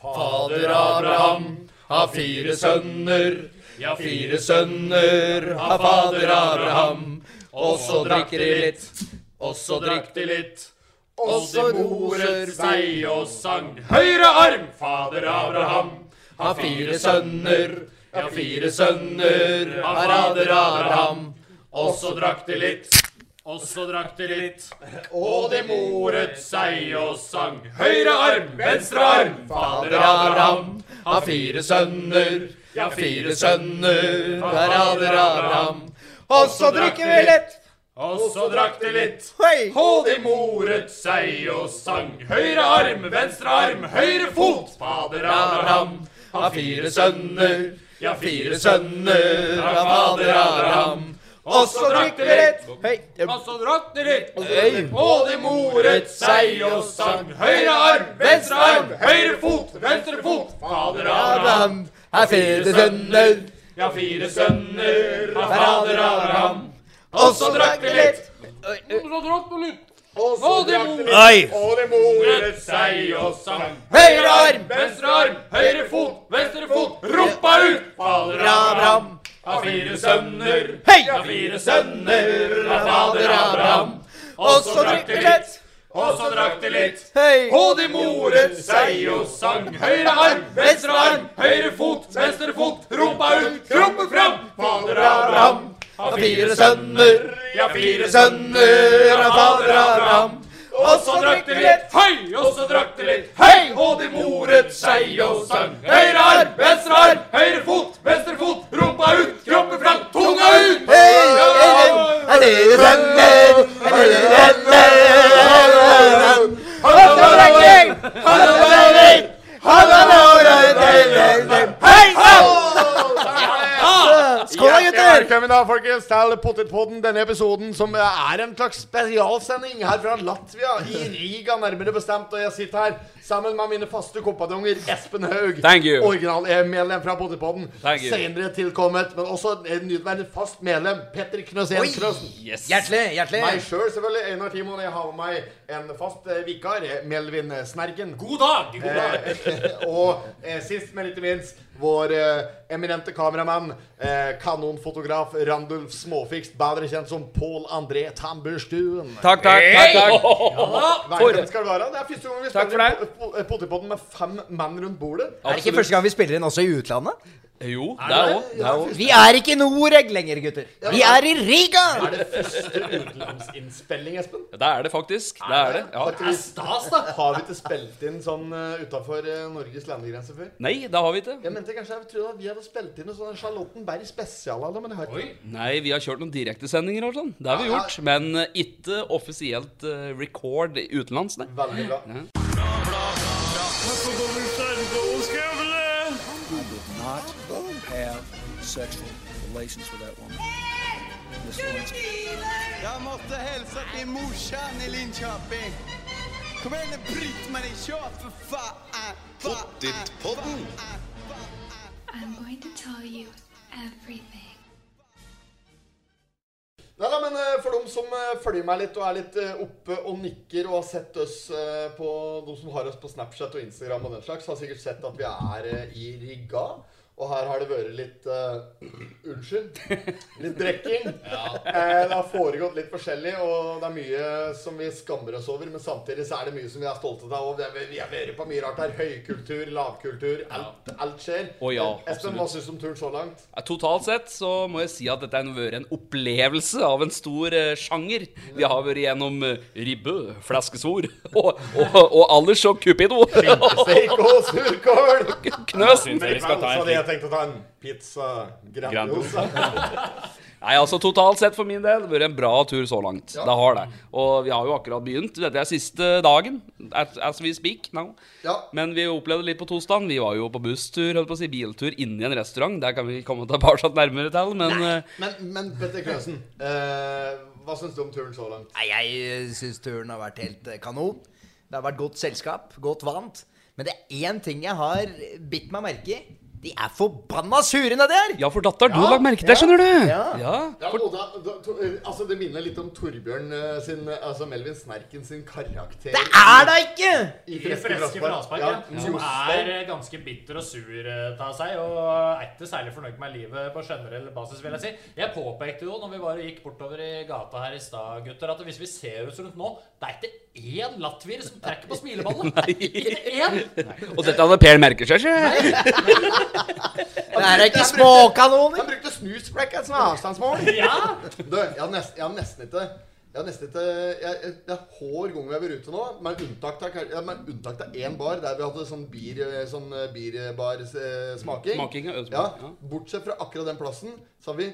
Fader Abraham har fire sønner, ja, fire sønner har fader Abraham. Og så drakk de litt, og så drakk de litt. Og så moret seg og sang høyre arm, fader Abraham. Har fire sønner, ja, fire sønner har fader Abraham. Og så drakk de litt, og så drakk de litt. Og de moret seg og sang Høyre arm, venstre arm, fader Abraham Har fire sønner, ja fire sønner Fader Abraham Og så drikker vi litt og så drakk de litt, Hei! og de moret seg og sang. Høyre arm, venstre arm, høyre fot. Fader Abraham har fire sønner, ja, fire sønner av fader Abraham. Og så drakk de litt, Hei! og så drakk de litt, Hei! og de moret seg og sang. Høyre arm, venstre arm, høyre fot, venstre fot. Fader Abraham Abraham har fire sønner, Ja, fire sønner av fader Abraham. og så drakk vi litt. Og så drakk de litt, Oi! og de moret seg og sang. Høyre arm! venstre arm, høyre fot, venstre fot, rumpa ut. Fader Abraham har fire sønner. Hei! Ja, fire sønner av fader Abraham. Og så drakk de litt, og så drakk de litt. Hei! Og de moret seg og sang. Høyre arm, venstre arm, høyre fot, venstre fot. Rumpa ut, kroppen fram. Fader Abraham har fire sønner, ja, fire sønner av fader Abraham. Og så drakk de litt, hei, og så drakk de litt, hei, og de moret seg og sang. Høyre arm, venstre arm, høyre fot, venstre fot, rumpa ut, kroppen fram, tunga ut. Hei! Hei! Har fire sønner, har fire sønner, og så drakk vi. Og så drakk vi. Og så drakk vi. Hei sann! Skål da, gutter! Velkommen da, folkens, til Potetpodden. Denne episoden som er en slags spesialsending her fra Latvia, i Riga nærmere bestemt. Og jeg sitter her sammen med mine faste kompanjonger Espen Haug, Thank you. originalmedlem fra Potetpodden. Thank you. Senere tilkommet, men også en nyutnevnt fast medlem, Petter Knøsén Knøsen. Yes. Hjertelig, hjertelig. Meg sjøl, selv, selvfølgelig. Einar Timon. Jeg har med meg en fast eh, vikar, eh, Melvin Snergen. God dag. God dag. Eh, og eh, sist, men ikke minst, vår eh, eminente kameramann, eh, kanonfotograf Randulf Småfikst, bedre kjent som Pål André Tamburstuen. Takk, takk, takk, takk. Velkommen skal du være. Det er første gang vi Takk for spiller po- po- Potipodden med fem menn rundt bordet. Er det ikke første gang vi spiller inn også i utlandet? Jo, det er òg. Vi er ikke i Noreg lenger, gutter. Vi er i Riga! Er det første utenlandsinnspilling, Espen? Det er det faktisk. Det er det. Ja. Det er stas, da. Har vi ikke spilt inn sånn uh, utafor Norges landegrense før? Nei, det har vi ikke. Jeg mente kanskje jeg trodde at vi hadde spilt inn en sånn Charlottenberg spesial, eller, men jeg har ikke Nei, vi har kjørt noen direktesendinger og sånn. Det har Ja, vi ja. gjort. Men eh, ikke offisielt eh, record utenlands, nei. Veldig bra. not have sexual relations with that woman. This woman's Jeg måtte hilse til morsan i Linköping. Kom igjen, Britt-Marie, kjør for faen! Pottit-podden! I'm going to tell you everything. Nei da, men eh, for dem som eh, følger meg litt og er litt eh, oppe og nikker og har sett oss eh, på De som har oss på Snapchat og Instagram og den slags, har sikkert sett at vi er eh, i Riga. Og her har det vært litt eh, Unnskyld. Litt drikking. Eh, det har foregått litt forskjellig, og det er mye som vi skammer oss over. Men samtidig så er det mye som vi er stolte av. Og det er, vi har vært på mye rart her. Høykultur, lavkultur. Alt, alt skjer. Eh, Å ja, Espen, hva syns du om turen så langt? Ja, Totalt sett så må jeg si at dette har vært en opplevelse av en stor eh, sjanger. Vi har vært gjennom eh, ribbe, flaskesvor og, og, og alders og cupido. Steik og surkål! Knøsen. Men så hadde jeg tenkt å ta en pizza Grandiosa. Nei, altså Totalt sett for min del vært en bra tur så langt. Det har det. Og vi har jo akkurat begynt. Dette er siste dagen. As, as we speak now. Ja. Men vi opplevde litt på tosdagen. Vi var jo på busstur, holdt på å si biltur, inne i en restaurant. Der kan vi komme tilbake nærmere til, men eh, Men, men Petter Knøsen, eh, hva syns du om turen så langt? Nei, jeg syns turen har vært helt eh, kanon. Det har vært godt selskap, godt vant. Men det er én ting jeg har bitt meg merke i. De er forbanna sure nedi her! Ja, for datteren, du har lagt merke til det, skjønner du. Ja. ja. Ja, og da, da, to, altså Det minner litt om Torbjørn eh, sin eh, Altså Melvin Snerken sin karakter Det er da ikke! i I Freske Braspark, ja. Som er eh, ganske bitter og sur eh, av seg, og er ikke særlig fornøyd med livet på generell basis, vil jeg si. Jeg påpekte jo når vi bare gikk bortover i gata her i stad, gutter, at hvis vi ser oss rundt nå, det er ikke én latvier som trekker på smileballen. Det er Ikke én! Og dette hadde Per merket seg, ikke? Det her er ikke småkanoner! Han brukte snusprekken som avstandsmål. Ja! Du, jeg har nest- jeg har nesten ikke jeg har nesten ikke jeg, jeg, Det er hver gang vi har vært ute nå, med unntak av ja, med unntak av én bar der vi hadde sånn bier, eh, sånn bierbarsmaking. Smaking og ølsmaking, ja, ja. bortsett fra akkurat den plassen, så har vi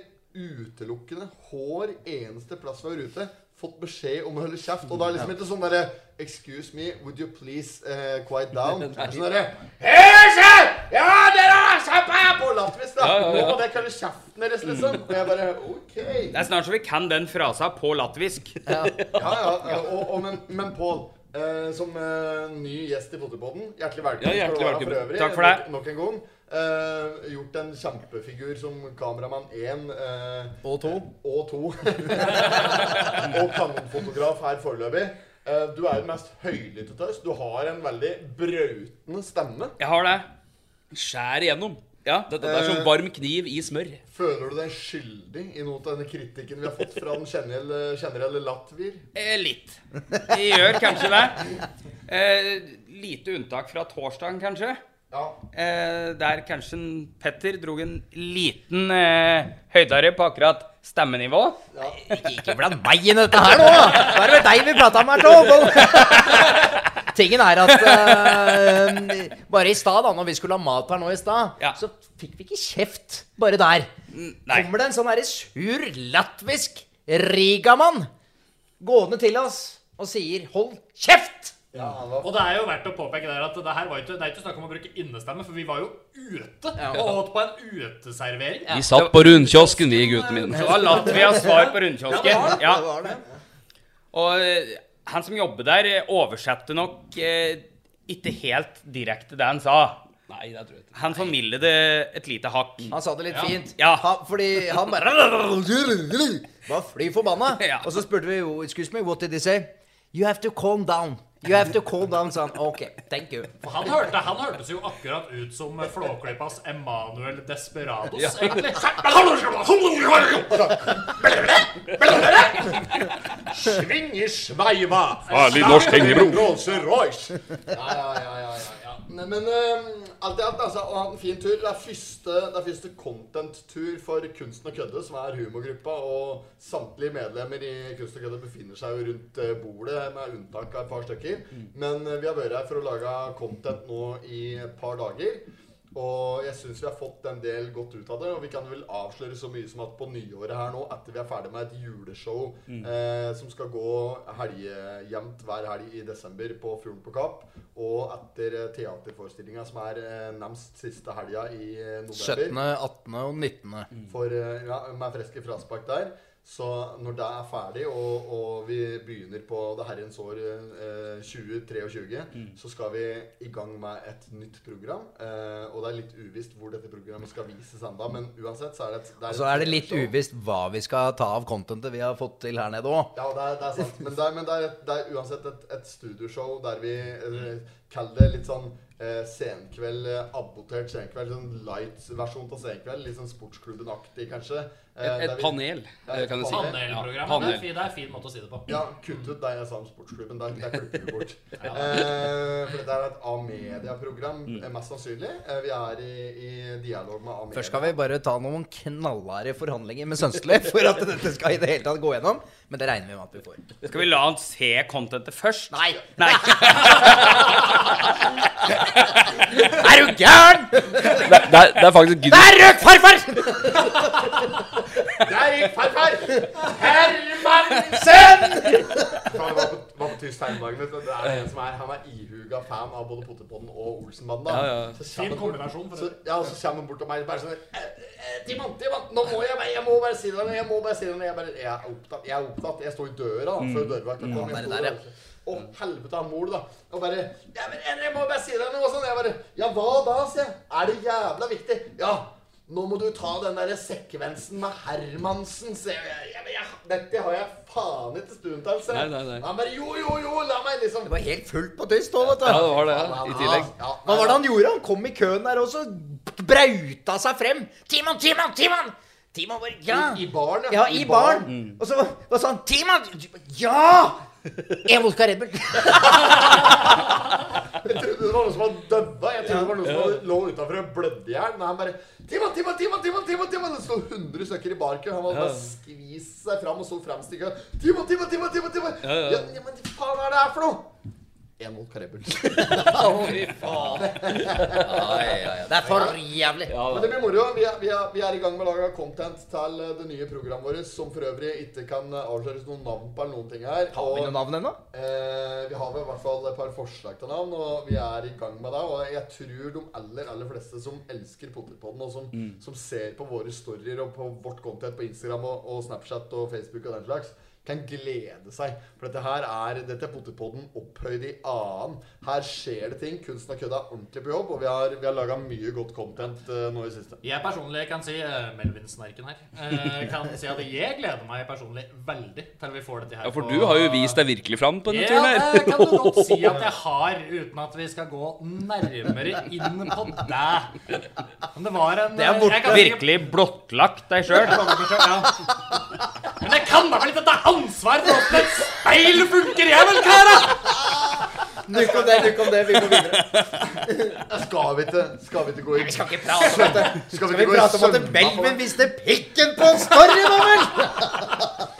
utelukkende hver eneste plass vi har vært ute, fått beskjed om å holde kjeft. Og da er det liksom ikke sånn derre Excuse me, would you please eh, quiet down? Det er Sånn derre «Hei, se! Ja, dere har kjempa på latvisk, da! ja, ja. Og det kaller kjeften deres, liksom. Og jeg bare OK. Det er snart så vi kan den frasa på latvisk. Ja, ja, ja. Og, og, men, men Pål, eh, som eh, ny gjest i Potterpodden, hjertelig velkommen. Ja, skal du hjertelig være velkommen. øvrig, Takk for det. Nok, nok en gang. Eh, gjort en kjempefigur som kameramann 1 eh, Og to. og 2. og kanonfotograf her foreløpig. Eh, du er jo den mest høylytte til oss. Du har en veldig brautende stemme. Jeg har det. Skjær igjennom. Ja, dette er som Eh. varm kniv i smør. Føler du deg skyldig i noe av denne kritikken vi har fått fra den generelle, generelle latvier? Eh, litt. Jeg gjør kanskje det. Eh, lite unntak fra torsdagen, kanskje. Ja. Eh, der kanskje en Petter dro en liten eh, høydere på akkurat stemmenivå. Ikke blant meg inn i dette her nå! Da er det vel deg vi prata om her, Tom! Tingen er at eh, bare i stad, da når vi skulle ha mat her nå i stad, Ja. så fikk vi ikke kjeft bare der. nei. Kommer det en sånn herre sur latvisk rigamann gående til oss og sier 'hold kjeft'! ja han var Og det er jo verdt å påpeke der at det her var jo ikke, det er ikke snakk om å bruke innestemme, for vi var jo ute og åt på en uteservering. Vi satt på rundkiosken, vi Det guttene mine. var Latvias svar på rundkiosken. Ja, Det var det. Og eh, han som jobber der, eh, oversatte nok eh, ikke helt direkte det han sa. Nei, det tror jeg ikke. Han formidlet det et lite hakk. Han sa det litt fint. Ja. Han, fordi han bare var fly forbanna. Ja. Og så spurte vi jo Excuse me, what did they say? You have to calm down. You have to calm down, sa han. Ok, thank you. Og Han, hørte, han hørtes jo akkurat ut som Flåklypas Emanuel Desperados, egentlig. Sving i sveiva! Farlig norsk hengebro. Rolls-Royce. Ja, ja, ja, ja, ja, ja. Nei, men eh, alt i alt, altså, å ha en fin tur. Det er første, det er første content-tur for Kunsten og kødde, som er humorgruppa, og samtlige medlemmer i Kunsten og kødde befinner seg jo rundt eh, bordet, med unntak av et par stykker. Men eh, vi har vært her for å lage content nå i et par dager. Og jeg syns vi har fått en del godt ut av det. Og vi kan vel avsløre så mye som at på nyåret her nå, etter vi er ferdig med et juleshow eh, som skal gå helgejevnt hver helg i desember på Fuglen på Kapp, og etter eh, teaterforestillinga som er eh, nærmest siste helga i eh, november 17., 18. og 19. for, eh, ja, med freske fraspark der. Så når det er ferdig, og, og vi begynner på det herrens år eh, 2023, Mm. så skal vi i gang med et nytt program. Eh, og det er litt uvisst hvor dette programmet skal vises enda, men uansett så er det et, det Så et Altså, er det litt show. uvisst hva vi skal ta av contentet vi har fått til her nede òg. Ja, det er, det er sant. Men det er, men det er, et, det er uansett et, et studioshow der vi eh, kaller det litt sånn eh, senkveld, eh, abortert senkveld, sånn light-versjon av senkveld. Litt sånn sportsklubben-aktig, kanskje. Eh, Et, der et vi- panel, Ja, eh, kan du si. Ja, Panelprogrammet. Det er panel. fi- Det er en fin måte å si det på. Ja, kutt ut deg jeg sa om sportsklubben. Der, der klipper vi bort. Eh, for dette er et A-media-program, Mm. eh, mest sannsynlig. Eh, vi er i, i dialog med A-media. Først skal vi bare ta noen knallharde forhandlinger med Sønstli for at dette skal i det hele tatt gå gjennom. Men det regner vi med at vi får. Skal vi la han se contentet først? Nei! Nei. Er du gæren?! Det, det, er- det er faktisk Gud. Der røk farfar! Der gikk farfar! Hermansen! Faen, Hva bet- hva betyr steindagen? vet du? Det er en som er, han er ihuga fan av både Potterpodden og Olsenbanden. da. Ja, ja. Så kommer Fin han bort- kombinasjon. for Så, det. ja, og så kommer han bort til meg og bare sånn eh, eh, Timon, Timon, nå må jeg, bare- jeg må bare si det, jeg må bare si det. Jeg, bare, jeg er opptatt, jeg er opptatt. Jeg står i døra da, før dørvakta Mm. kommer. der, Jeg står i der, ja. døra. Å, helvete, han mor, da. Og eh, bare jeg, men, jeg må bare si det. Og sånn, jeg bare Ja, hva da, sier jeg. Er det jævla viktig? Ja. Nå må du ta den der sekvensen med Hermansen, sier jeg. jeg, jeg, jeg dette har jeg faen ikke stuen til, sier jeg. Nei, nei, nei. Han bare jo, jo, jo, la meg liksom Det var helt fullt på tyst òg, vet du. Ja, det var det, ja. I tillegg. Ja, ja, Hva var det han gjorde? Han kom i køen der og så brauta seg frem. Timon, Timon, Timon! Timon bare, ja. I, i baren, Ja, i baren. Og så var sånn Timon! Ja! En vodka Red Bull. Jeg trodde det var noen som hadde dødda. Jeg trodde det var noen som hadde lå utenfor og blødde i hjel. Men han bare Timon, Timon, Timon, Timon, Timon, Timon! Det sto 100 stykker i barkø. Han hadde bare skvist seg fram og så fremst i køen. Timon, Timon, Timon, Timon! Timon! Ja, ja. men hva faen er det her for noe? En mot Karebel. Det er for jævlig. Men det blir moro. Vi er, vi, er, vi er i gang med å lage content til eh, det nye programmet vårt, som for øvrig ikke kan eh, avsløres noen navn på eller noen ting her. Har vi Og- noe navn ennå? Eh, vi har vel i hvert fall et par forslag til navn, og vi er i gang med det. Og jeg tror de aller aller fleste som elsker Potterpodden, og som, Mm. som ser på våre storyer og på vårt content på Instagram og, og Snapchat og Facebook og den slags, kan glede seg. For dette her er Dette er Potterpodden opphøyd i annen. Her skjer det ting. Kunsten og kødda er ordentlig på jobb, og vi har, vi har laga mye godt content eh, nå i det siste. Jeg personlig kan si eh, Melvin-snerken her. eh, Kan si at jeg gleder meg personlig veldig til vi får dette her. Ja, for på- du har jo vist deg virkelig fram på denne Ja, turen her. det kan du godt si at jeg har, uten at vi skal gå nærmere inn på det. Men det var en eh, er borte. jeg kan si- Virkelig blottlagt deg sjøl. Ja. Men jeg kan da vel ikke ta ansvar for åssen et speil funker, jeg vel, kære! Nok om det, nok om det. Vi går videre. Skal vi ikke, skal vi ikke gå i Skal ikke prate om det. Skal Skal vi prate om at sømna på det? Belven viste pikken på en story, da vel?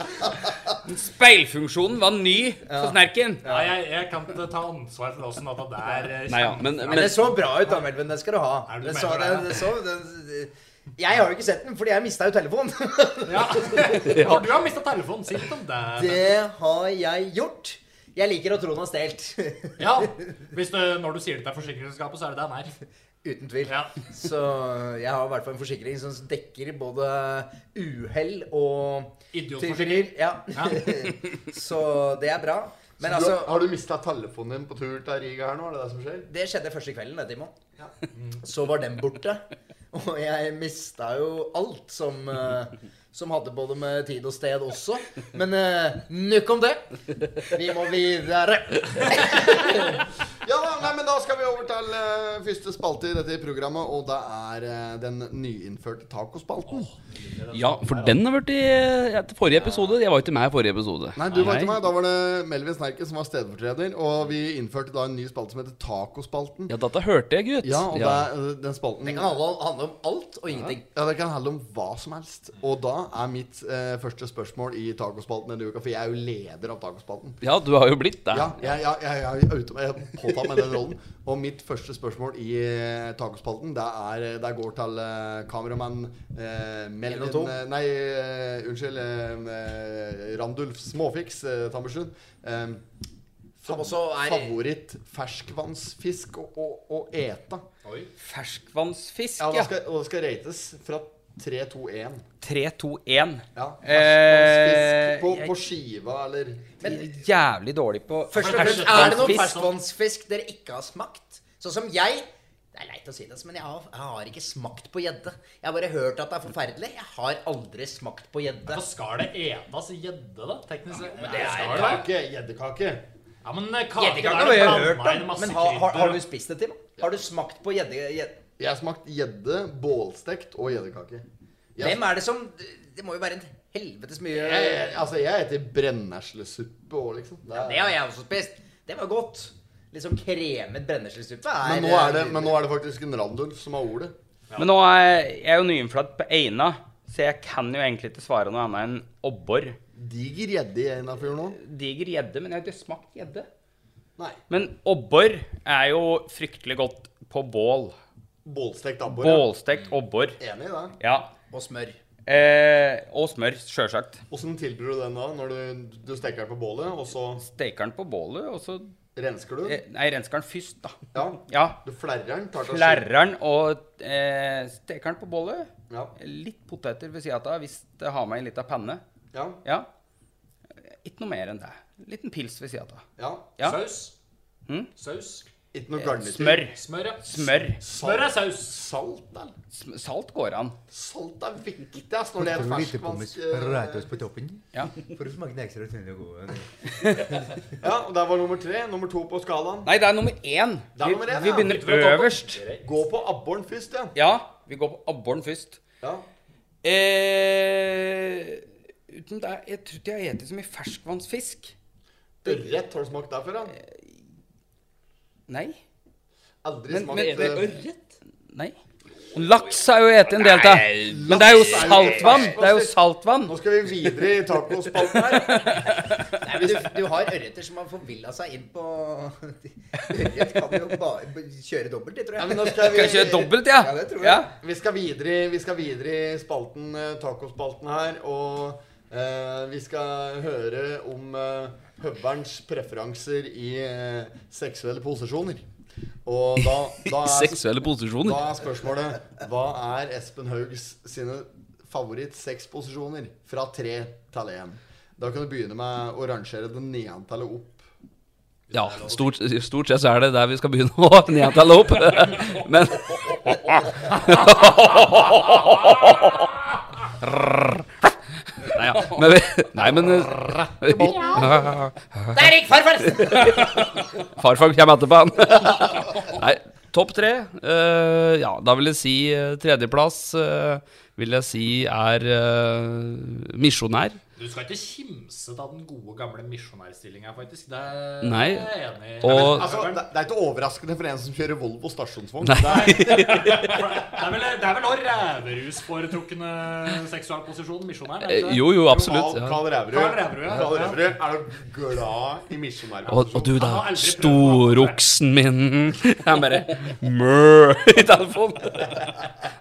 Speilfunksjonen var ny for Snerken. Nei, jeg, jeg kan ikke ta ansvar for åssen dette der eh, Nei, ja, men, Men det men så bra ut, da, Melvin. Det skal du ha. Er det du Det så, det, mener det? det så, det, jeg har jo ikke sett den, fordi jeg mista jo telefonen. Ja. For du har mista telefonen. Si litt om det. Det har jeg gjort. Jeg liker å tro den har stjålet. Ja. Hvis du, når du sier det til forsikringsselskapet, så er det den her. Uten tvil. Ja. Så jeg har i hvert fall en forsikring som dekker både uhell og Idiotforsikring. tyverier. Ja. Så det er bra. Men altså Har du mista telefonen din på tur til Riga her nå? Er det det som skjer? Det skjedde første kvelden, det, Timon. Så var den borte. Og jeg mista jo alt som, eh, som hadde både med tid og sted også. Men uh, nok om det. Vi må videre. Ja da, nei, men da skal vi over til eh, første spalte i dette programmet, og det er eh, den nyinnførte tacospalten. Ja, for den har vært i eh, etter forrige episode. Jeg var ikke med i forrige episode. Nei, du var ikke meg. Da var det Melvin Snerken som var stedfortreder, og vi innførte da en ny spalte som heter Tacospalten. Ja, dette hørte jeg, gutt. Ja, og det Ja. er eh, den spalten Det kan handle om, handle om alt og ingenting. Ja, Det kan handle om hva som helst. Og da er mitt eh, første spørsmål i tacospalten denne uka, for jeg er jo leder av tacospalten. ja, du har jo blitt det. Ja, jeg, jeg, jeg, jeg, er ute- jeg har påtatt meg den rollen. Og mitt første spørsmål i eh, tacospalten, det, er, det går til eh, kameramann eh, En og Melvin to. eh, Nei, eh, unnskyld. Eh, eh, Randulf Småfiks eh, Tammersund. Eh, Som også er- favoritt ferskvannsfisk å, å, å ete. Ferskvannsfisk, Ja, ja. det skal, og det skal rates fra 3, 2, 1. 3, 2, 1. Ja, Eh, ferskvannsfisk på, jeg- på skiva eller Men jævlig dårlig på Først og fremst, er det noen ferskvannsfisk dere ikke har smakt? Sånn som jeg. Det er leit å si det, men jeg har, jeg har ikke smakt på gjedde. Jeg har bare hørt at det er forferdelig. Jeg har aldri smakt på gjedde. Så skal det etes gjedde, da? Teknisk sett. Men det er skal det. Kake, Gjeddekake. Ja, men eh, kake Gjedde kan der, ikke det blander være hørt inn om, masse men har, har, krydder, har da. du spist det, Timon? Har du smakt på gjedde... gjedde- Jeg har smakt gjedde, bålstekt og gjeddekake. Jeg- Hvem er det som Det må jo være en helvetes mye Jeg, jeg, altså, jeg heter brenneslesuppe òg, liksom. Det er- Det har jeg også spist. Det var godt. Litt sånn kremet brenneslesuppe er eh, men, nå er det, men nå er det faktisk en Randulf som har ordet. Men nå er jeg er jo nyinnflatt på Eina, så jeg kan jo egentlig ikke svare noe annet enn abbor. Diger gjedde i Einafjorden nå. Diger gjedde, men jeg har ikke smakt gjedde. Nei. Men abbor er jo fryktelig godt på bål. Bålstekt abbor. ja. Bålstekt abbor. Enig i det. Ja. Og smør. Eh, og smør, sjølsagt. Åssen tilbyr du den da? Når du, du steker den på bålet, og så Steker den på bålet, og så rensker du den? eh, Nei, rensker den først, da. Ja. Ja. Du flerrer den. Tar til å skyte. Flerrer den og eh, steker den på bålet. Ja. Litt poteter ved sida av hvis det har med ei lita panne. Ja. Ja. Ikke noe mer enn det. Liten pils ved sida av. ja. Ja. Hmm? Saus? Hm? Saus? Ikke noe garnityr. Smør. Smør, ja. Smør. Smør er saus. Salt, eller? Sm- Salt går an. Salt er viktig, ass, når det er ferskvanns... på toppen. Ja. For å smake den ekstra tunne og gode. Ja, og der var nummer tre. Nummer to på skalaen. Nei, det er nummer én. Det er nummer vi, én, vi ja. begynner øverst. Gå på abboren først, ja. Ja, vi går på abboren først. ja. Eh, uten det, jeg tror ikke jeg har spist så mye ferskvannsfisk. Ørret, har du smakt der før, ja? Nei. Aldri Men, smakt men, eh, ørret? Nei. Laks er jo et en del av. Men det er jo saltvann. Det er jo saltvann. Nå skal vi videre i tacospalten her. Nei, men du, du har ørreter som har forvilla seg inn på Ørret kan jo bare b- kjøre dobbelt, det tror Ja, jeg. men nå skal vi, Skal jeg kjøre dobbelt, ja? Ja, det tror jeg. Ja. Vi skal videre, vi skal videre i spalten, eh, tacospalten her, og eh, vi skal høre om eh, høverens preferanser i eh, seksuelle posisjoner. Og da, da, er, Seksuelle da posisjoner. er spørsmålet Hva er Espen Haugs sine favoritt-sexposisjoner fra tre til én? Da kan du begynne med å rangere det nedantallet opp. Ja, stort, stort sett så er det der vi skal begynne å nedtelle opp. Men Nei, ja. men, vi, nei, men Der gikk farfar! Farfar kommer etterpå, han. Nei, topp tre. eh, ja, da vil jeg si eh, tredjeplass eh, vil jeg si er eh, misjonær. Du skal ikke kimse av den gode, gamle misjonærstillinga, faktisk. Det er Nei. jeg er enig i. Og- Altså, det, det er ikke overraskende for en som kjører Volvo stasjonsvogn. Nei. Det er vel, det er vel også ræverhus foretrukne seksualposisjon, misjonæren? er det Eh, ikke det? Jo, jo, absolutt. Karl, Ja. Karl Ræverud. Karl Ræverud, ja. Karl Ræverud, er du glad i Og, og du misjonærposisjon? da, storoksen min Han bare mø i telefonen.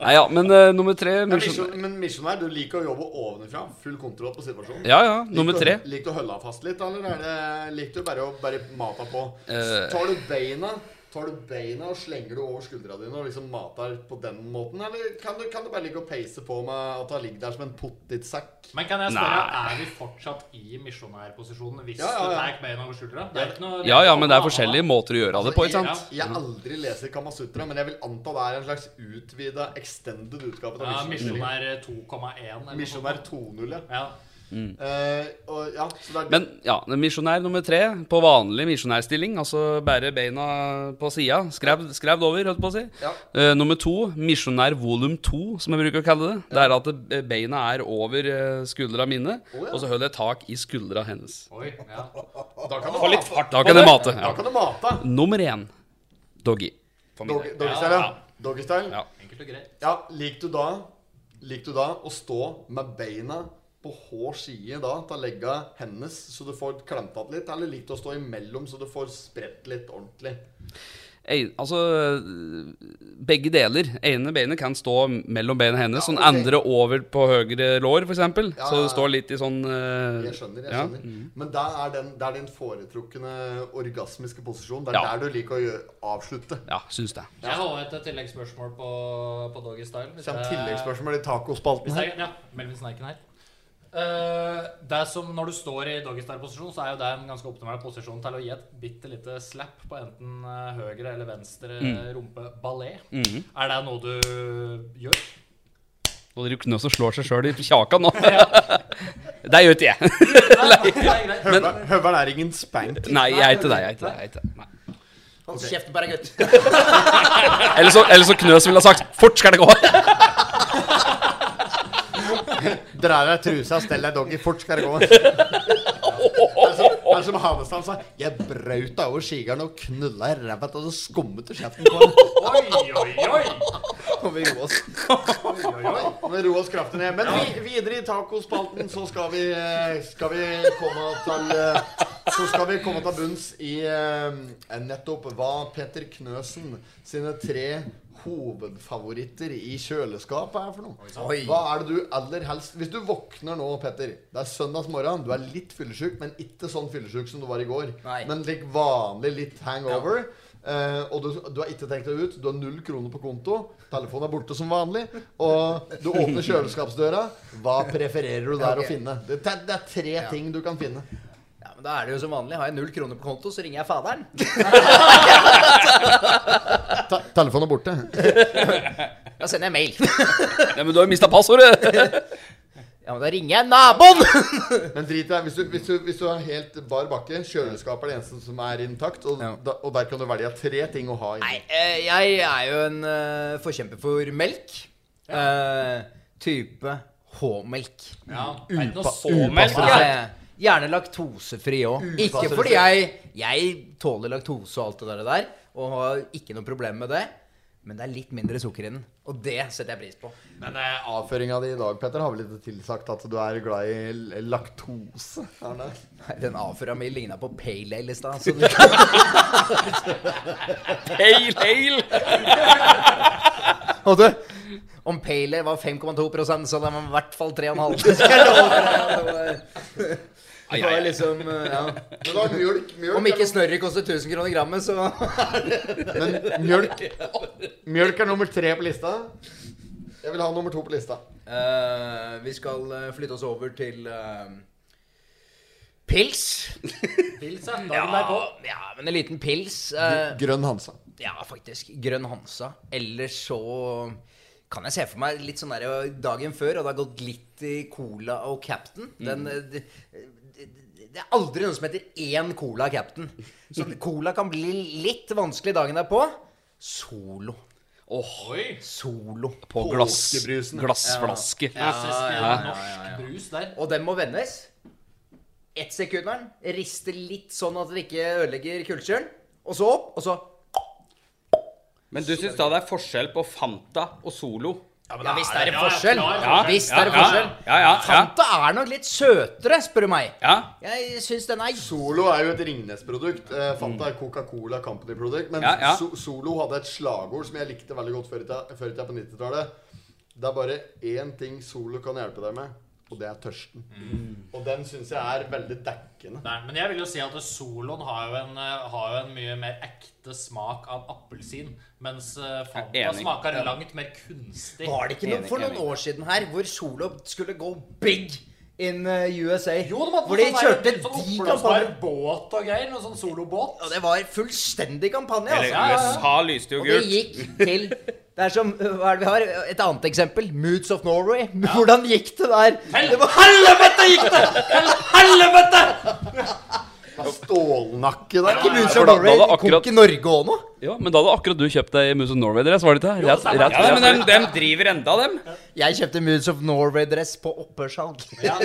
Nei ja, men eh, nummer tre Men misjon- misjon- Men misjonær, du liker å jobbe ovenfra. Full kontroll på situasjonen. Ja ja, nummer tre. Liker du- Liker du å holde fast litt, eller er det, liker du bare å bare mata på? Eh. Tar du beina Tar du beina og slenger du over skuldra dine og liksom mater på den måten? Eller kan du, kan du bare ligge og peise på med at han ligger der som en potetsekk? Men kan jeg spørre, Nei. er vi fortsatt i misjonærposisjonen hvis Ja, ja, du ja. tar beina over skuldra? Det er ikke noe Ja ja, ikke noe men det er annet. forskjellige måter å gjøre det på, ikke sant? Jeg har aldri leser Kamasutra, men jeg vil anta det er en slags utvida, extended utgave Ja, av Misjonær. Misjonær 2,1. eller noe sånt. Misjonær 2.0, ja. Ja. Eh, og ja, så det er Mm. Men ja, misjonær nummer tre på vanlig misjonærstilling, altså bære beina på sida, skrev, skrevet over, holdt på å si. Ja. Eh, nummer to, misjonær volum to, som jeg bruker å kalle det. Det er at eh, beina er over eh, skuldra mine, ja. og så holder jeg tak i skuldra hennes. Oi, ja. Da kan du mate. Litt fart Da på kan jeg det. mate. Da Ja. kan du mate. Nummer én, doggy. For min Doggy- del. Doggystyle, ja. Ja. Doggystyle. Ja. Ja. Enkelt og greit. liker du da Liker du da å stå med beina på hår side da til å legge hennes, så du får klemt att litt? Eller liker du å stå imellom, så du får spredt litt ordentlig? Ei- Altså, øh, begge deler. Ene beinet kan stå mellom beina hennes, sånn ok. andre over på høyre lår, f.eks. Ja, Så ja, det ja. står litt i sånn øh, Jeg skjønner. jeg ja. skjønner Men det er, den, det er din foretrukne orgasmiske posisjon. Det er Ja. der du liker å gjø- avslutte. Ja, syns det. Jeg har et tilleggsspørsmål på, på Doggy Style. hvis Så kommer jeg- tilleggsspørsmål i tacospalten Eh, Hvis her. jeg, ja, Melvin Snerken her. Eh, det er som Når du står i doggystyle-posisjon, så er jo det en ganske optimal posisjon til å gi et bitte lite slap på enten eh, høyre eller venstre Mm. rumpe-ballé. Mhm. Er det noe du gjør? Nå driver Knøs og slår seg sjøl i kjaka nå. det gjør ikke jeg. Nei, det er greit. Høveren høveren er ingen spank. Nei, jeg er ikke det. jeg er ikke det, jeg er ikke det. Nei. Hold kjeften på deg, gutt. Eller så, eller så Knøs ville ha sagt 'fort skal det gå'. Dra av deg trusa, stell deg doggy, fort skal det gå. Det er som- det er som Hanestad sa. Jeg braut deg over skigeren og knulla i ræva til du skummet i kjeften på ham. Oi, oi, oi! Og vi roer oss. Og vi roer oss kraftig ned. Men vi, videre i tacospalten så skal vi, eh, skal vi komme til eh, Så skal vi komme til bunns i eh, nettopp hva Petter Knøsen sine tre hovedfavoritter i kjøleskapet er for noe. Oi. Hva er det du aller helst Hvis du våkner nå, Petter Det er søndags morgen, du er litt fyllesyk Men ikke sånn fyllesyk som du var i går Nei. Men like vanlig litt hangover eh, Og du, du har ikke tenkt deg ut Du har null kroner på konto Telefonen er borte som vanlig Og du åpner kjøleskapsdøra Hva prefererer du der Ok. å finne? Det, det, det er tre ting du kan finne Ja, men Da er det jo som vanlig. Har jeg null kroner på konto, så ringer jeg faderen. Ta, telefonen er borte. Da sender jeg mail. Nei, men du har jo mista passordet! Ja, men da ringer jeg naboen! Men drit i det. Hvis du, hvis, du, hvis du har helt bar bakke, kjøleskapet er det eneste som er intakt, og, Ja. da, og der kan du velge tre ting å ha Nei, inni. eh, jeg er jo en eh, forkjemper for melk. Eh, type H-melk. Ja, det er ikke noe så upa- melk. Ja, Ja. ja. Gjerne laktosefri òg. Ikke fordi jeg Jeg tåler laktose og alt det der, der, og har ikke noe problem med det. Men det er litt mindre sukker i den, og det setter jeg pris på. Men eh, avføringa di i dag Petter, har vel ikke tilsagt at du er glad i l- laktose? Er det? Nei, Den avføra mi ligna på pale ale i stad. så du- Hail, hail! Og du, Om pale ale var 5,2 så hadde den i hvert fall 3,5 skal jeg love deg. Det var- Det var liksom eh, ja. Men da, mjølk, mjølk, Om ikke snørret koster 1000 kroner grammet, så Men mjølk Mjølk er nummer tre på lista. Jeg vil ha nummer to på lista. Eh, vi skal eh, flytte oss over til eh, pils. Pils, ja. Dagen derpå. ja, men en liten pils. eh, Grønn Hansa. ja, faktisk. Grønn Hansa. Ellers så kan jeg se for meg litt sånn der eh, dagen før, og det har gått litt i Cola og Captain. Den, eh, det, det, det er aldri noe som heter én Cola Captain. Så Cola kan bli litt vanskelig dagen derpå. Solo. Oi! Solo. På glass, Påskebrusen. glassflaske. Klassisk eh, norsk brus der. Og den må vendes. Ett sekunderen. Riste litt sånn at det ikke ødelegger kullsyren. Og så opp, og så Men du syns da det er forskjell på Fanta og Solo? Ja visst er det ja, forskjell. ja, Ja, visst er det ja, forskjell. Ja, ja, ja. Fanta er nok litt søtere, spør du meg. ja. Jeg syns den er Solo er jo et Ringnes-produkt. Eh, Mm. Fanta er Coca-Cola Company-produkt. Men Ja, ja. So Solo hadde et slagord som jeg likte veldig godt før i tida, før i tida på 90-tallet. Det er bare én ting Solo kan hjelpe deg med, og det er tørsten. Mm. Og den syns jeg er veldig dekkende. Nei, men jeg vil jo si at Solon har jo en, eh, har jo en mye mer ekte smak av appelsin. Mens eh, Jeg er Fanta enig. smaker langt mer kunstig. Var det ikke noe Enig, for noen enig. år siden her hvor Solo skulle gå big in eh, USA? Jo, de hadde hvor de sånn der- kjørte sånn de oppblåsbar kampanjer. båt og greier. Noe sånn solobåt. Og det var fullstendig kampanje, altså. Eller USA lyste jo Og det gult. gikk til Det er som uh, Hva er det vi har? Et annet eksempel. Moods of Norway. Hvordan gikk det der? Det var helvete gikk det! Helvete! Det er Stålnakke der. Ikke Moods for of da- Norway. da hadde Kom akkurat- ikke Norge òg nå? Ja, men da hadde akkurat du kjøpt deg Moose of Norway-dress, var det ikke? det? Rett, rett, Ja, rett, men dem, dem driver enda, dem. Jeg kjøpte Moods of Norway-dress på opphørssalg. Ja,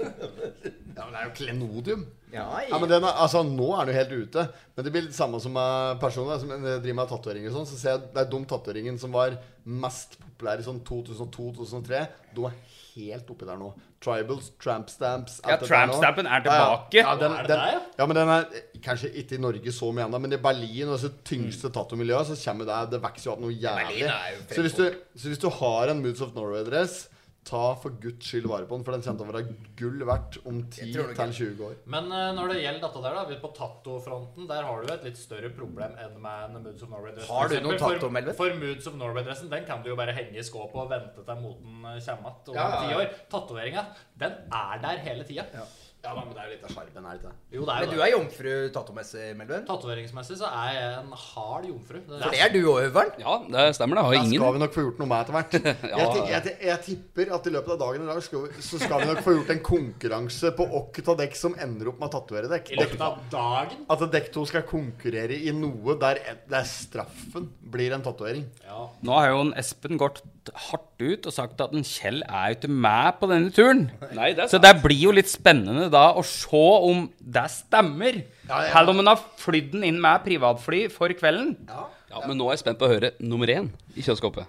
Ja, men det er jo klenodium. Ja, men ja. den er, altså Nå er den jo helt ute. Men det blir litt samme som med personer som eh, driver med tatoveringer og sånn. Så ser jeg det er de tatoveringene som var mest populære i sånn 2002-2003, de er helt oppi der nå. Tribals, tramp stamps Ja, alt det der nå. trampstampen er tilbake. Ja, ja. Ja, den, Er det den, der, ja? ja, men den er eh, kanskje ikke i Norge så mye ennå, men i Berlin og det tyngste tatovmiljøet, så kommer det Det vokser jo opp noe jævlig. Så hvis, du, så hvis du har en Moods of Norway-dress, ta for guds skyld vare på den, for den kommer til å være gull verdt om 10-20 år. Men eh, når det gjelder dette der, da, vi på tattofronten, der har du jo et litt større problem enn med en Moods of Norway-dress. Har du For noen eksempel, tattoo, Melvin? For, for Moods of Norway-dressen, den kan du jo bare henge i skåpet og vente til moten eh, kommer att om Ja, ja, ti ja. år. Tatoveringa, den er der hele tida. Ja, da, men det er jo litt av sjarmen, er det ikke? det? Jo, det er Men jo du det. er jomfru tatomessig, Melvin? Tatoveringsmessig så er jeg en hard jomfru. Det- For det er du òg, Øveren. Ja, det stemmer det. Jeg har Der skal ingen. vi nok få gjort noe med etter hvert. jeg, ti- jeg, ti- jeg tipper at i løpet av dagen i dag skal vi, så skal vi nok få gjort en konkurranse på åkket av dekk som ender opp med å tatovere dekk. I løpet av dagen. At dekk to skal konkurrere i noe der, et- der straffen blir en tatovering. Ja. Nå har jo en Espen gått hardt ut og sagt at en Kjell er jo ikke med på denne turen. Nei, det er Så det blir jo litt spennende da å se om det stemmer. Ja, ja. Selv om en har flydd den inn med privatfly for kvelden. Ja, men nå er jeg spent på å høre nummer én i kjøleskapet.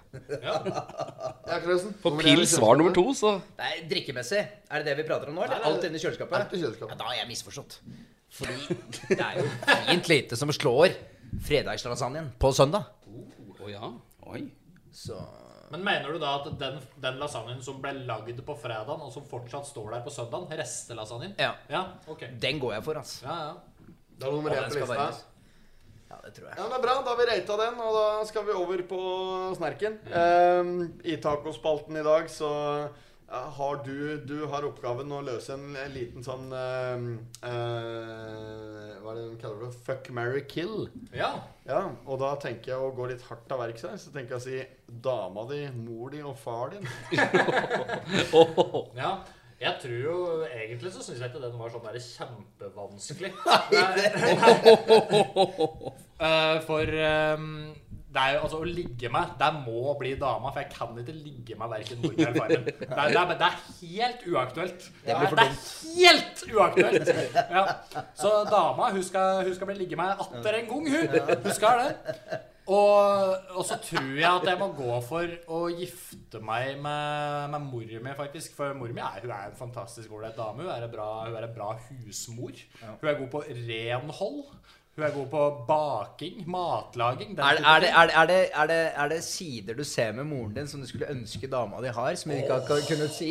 Ja, Klausen. For pils var nummer to, så Nei, drikkemessig. Er det det vi prater om nå? Eller alt inni kjøleskapet? Alt i kjøleskapet. Ja, da har jeg misforstått. Fordi det er jo fint lite som slår fredagslasagnen på søndag. Å ja. Oi. Så Men mener du da at den, den lasagnen som ble lagd på fredagen, og som fortsatt står der på søndagen, restelasagnen Ja. ja. Ok. den går jeg for, altså. Ja, ja. Det er nummer Og én den på skal lista. varmes. Ja, det tror jeg. Ja, men det er bra. Da har vi rata den, og Mm. da skal vi over på snerken. Ehm, I tacospalten i dag så eh, har du, du har oppgaven å løse en, en liten sånn eh, eh, Hva er det de kaller det? Fuck, marry, kill. Ja. Ja, og da tenker jeg å gå litt hardt av verks her. Så tenker jeg å si dama di, mor di og far din. ja. Jeg tror jo, Egentlig så syns jeg ikke den var sånn der kjempevanskelig. Eh, for ehm, det er jo, altså, å ligge meg Det må bli dama, for jeg kan ikke ligge meg verken mor eller far min. Det, er- det, er- det er helt uaktuelt. Det, blir for er helt uaktuelt! Ja. Så dama, hun skal, hun skal bli ligge meg atter en gang, hun. Hun skal det. Og, og så tror jeg at jeg må gå for å gifte meg med, med mor mi, faktisk. For mor mi er, hun er en fantastisk ålreit dame. Hun er, en bra, hun er en bra husmor. Hun er god på renhold. Hun er god på baking, matlaging. den Er, type er, det, er, det, er, det, er, det, er det sider du ser med moren din som du skulle ønske dama di har, som hun ikke har kunnet si?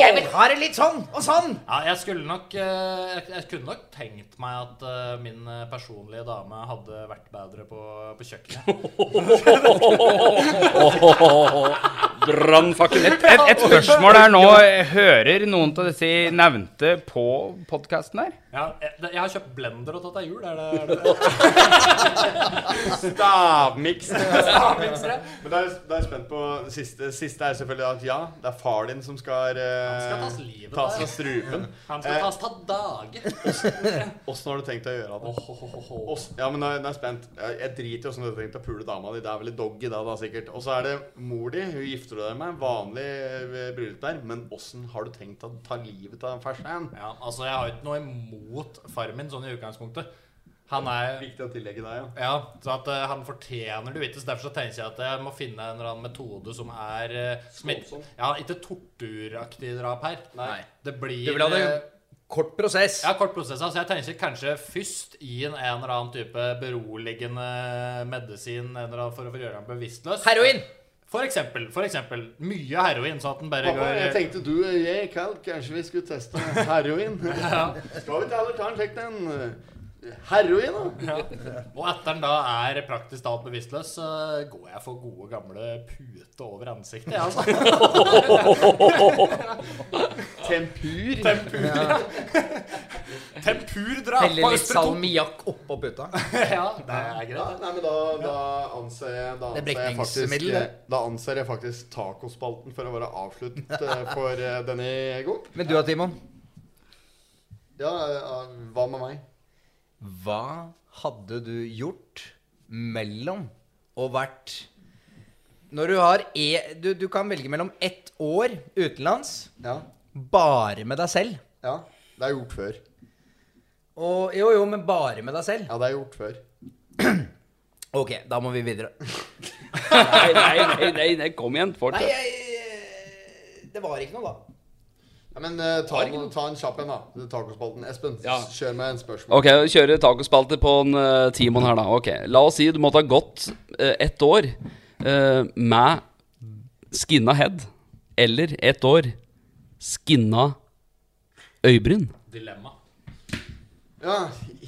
Jeg vil ha det litt sånn og sånn! Ja, jeg skulle nok eh, Jeg jeg kunne nok tenkt meg at eh, min eh, personlige dame hadde vært bedre på, på kjøkkenet. Brannfakkel. Et, et, et spørsmål her nå. Hører noen av disse nevnte på podkasten her? Ja, jeg, jeg har kjøpt blender og tatt deg jul. Er det, er det Stavmiks. miksere? Men da er, jeg- da er jeg spent på det siste. Siste er selvfølgelig at ja, det er far din som skal eh, skal tas livet tas av. av strupen. Han skal tas ta dage. Åssen har du tenkt å gjøre det? Ohohoho. Ås- Ja, men nå er nå er jeg spent. Jeg jeg driter i åssen du har tenkt å pule dama di. Det er vel et doggy da, da sikkert. Og så er det mor di. Hun gifter du deg med. Vanlig eh, bryllup der. Men åssen har du tenkt å ta livet av farsan? Ja, altså, jeg har jo ikke noe imot faren min sånn i utgangspunktet. Han er Viktig å tillegge deg, ja. Ja, så at eh, han fortjener det ikke. Så derfor så tenker jeg at jeg må finne en eller annen metode som er uh, som ikke, Skånsom. Ja, ikke torturaktig drap her. Nei. Det blir Du vil ha det eh, kort prosess. Ja, kort prosess. Altså, jeg tenker kanskje først gi en, en eller annen type beroligende medisin en eller annen, for å for å gjøre ham bevisstløs. Heroin! For eksempel. For eksempel. Mye heroin, sånn at den bare Pappa, går jeg tenkte du og jeg i kveld kanskje vi skulle teste heroin. Skal vi ikke heller ta en sjekk den eh, heroin, da? Og etter den da er praktisk talt bevisstløs, så går jeg for gode gamle pute over ansiktet, jeg, altså. Tempur. Tempurdrap Helle litt salmiakk oppå puta. Ja, det er Ja, greit. nei, men da, da anser jeg Da Det er anser jeg faktisk, eh, brekningsmiddel, det. da anser jeg faktisk tacospalten for å være avsluttet eh, for eh, denne gang. Men du da, Timon? Ja, eh, hva med meg? Hva hadde du gjort mellom å vært Når du har e... Du, du kan velge mellom ett år utenlands Ja, bare med deg selv. ja. Det er gjort før. Og jo, jo, men bare med deg selv. Ja, det er gjort før. Ok, da må vi videre. Nei, nei, nei, nei, nei kom igjen. Nei, Fortsett. jeg Det var ikke noe, da. Ja, men eh, ta, en, ta en kjapp en, da. Tacospalten. Espen, Ja. kjør med en spørsmål. Ok, kjøre tacospalte på en uh, Timon her, da. Ok, La oss si du måtte ha gått eh, ett år eh, med skinna head, eller ett år skinna øyebryn. Dilemma. Ja,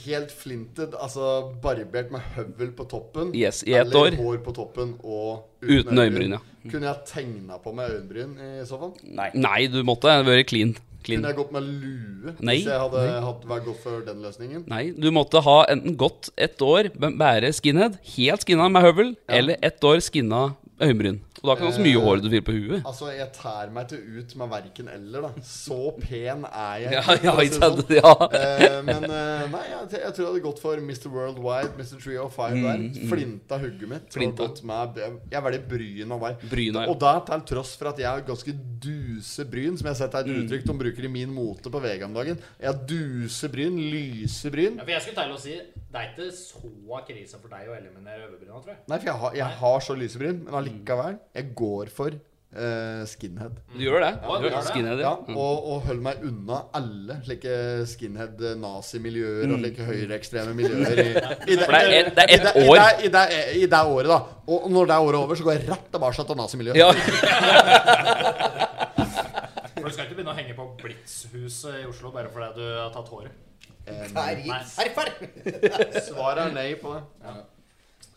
helt flinted. Altså barbert med høvel på toppen. Yes, i ett år. Eller hår på toppen og Uten øyenbryn, ja. Kunne jeg tegna på meg øyenbryn i så fall? Nei. du måtte vært clean. clean. Kunne jeg gått med lue Nei. hvis jeg hadde, hadde vært godt for den løsningen? Nei, du måtte ha enten gått ett år b- bære skinhead, helt skinna med høvel, eller ett år skinna øyenbryn. Og da kan du ha så mye hår du vil på huet. Altså, jeg tær meg til ut med verken eller, da. Så pen er jeg. Ja, ikke, for ja, å si det ikke sant? sånn. Ja. Eh, men eh, nei, jeg, jeg tror jeg hadde gått for Mr. Worldwide, Mr. 305 der. Mm, Flinta hugget mitt. og Flinta. gått Med, jeg velger bryn av meg. Bryna, ja. Og da til tross for at jeg har ganske duse bryn, som jeg har sett er et Mm. uttrykk de bruker i min mote på VG om dagen. Jeg har duse bryn, lyse Ja, bryn. for jeg skulle til å si, det er ikke så krise for deg å eliminere øvebryna, tror jeg. Nei, for jeg har, jeg har så lyse bryn, Mm. men allikevel. Jeg går for eh, skinhead. Du gjør det? Ja, Du gjør gjør det. skinhead, Ja, ja. Mm. og, og hold meg unna alle slike skinhead-nazimiljøer og slike høyreekstreme miljøer. I, i det, Mm. For det er et- det er ett i det- år. I det, i, det, I det året, da. Og når det året er over, så går jeg rett tilbake til nazimiljøet. Ja. For du skal ikke begynne å henge på Blitzhuset i Oslo bare fordi du har tatt håret. Herregud. Herfar. Svaret er nei på det.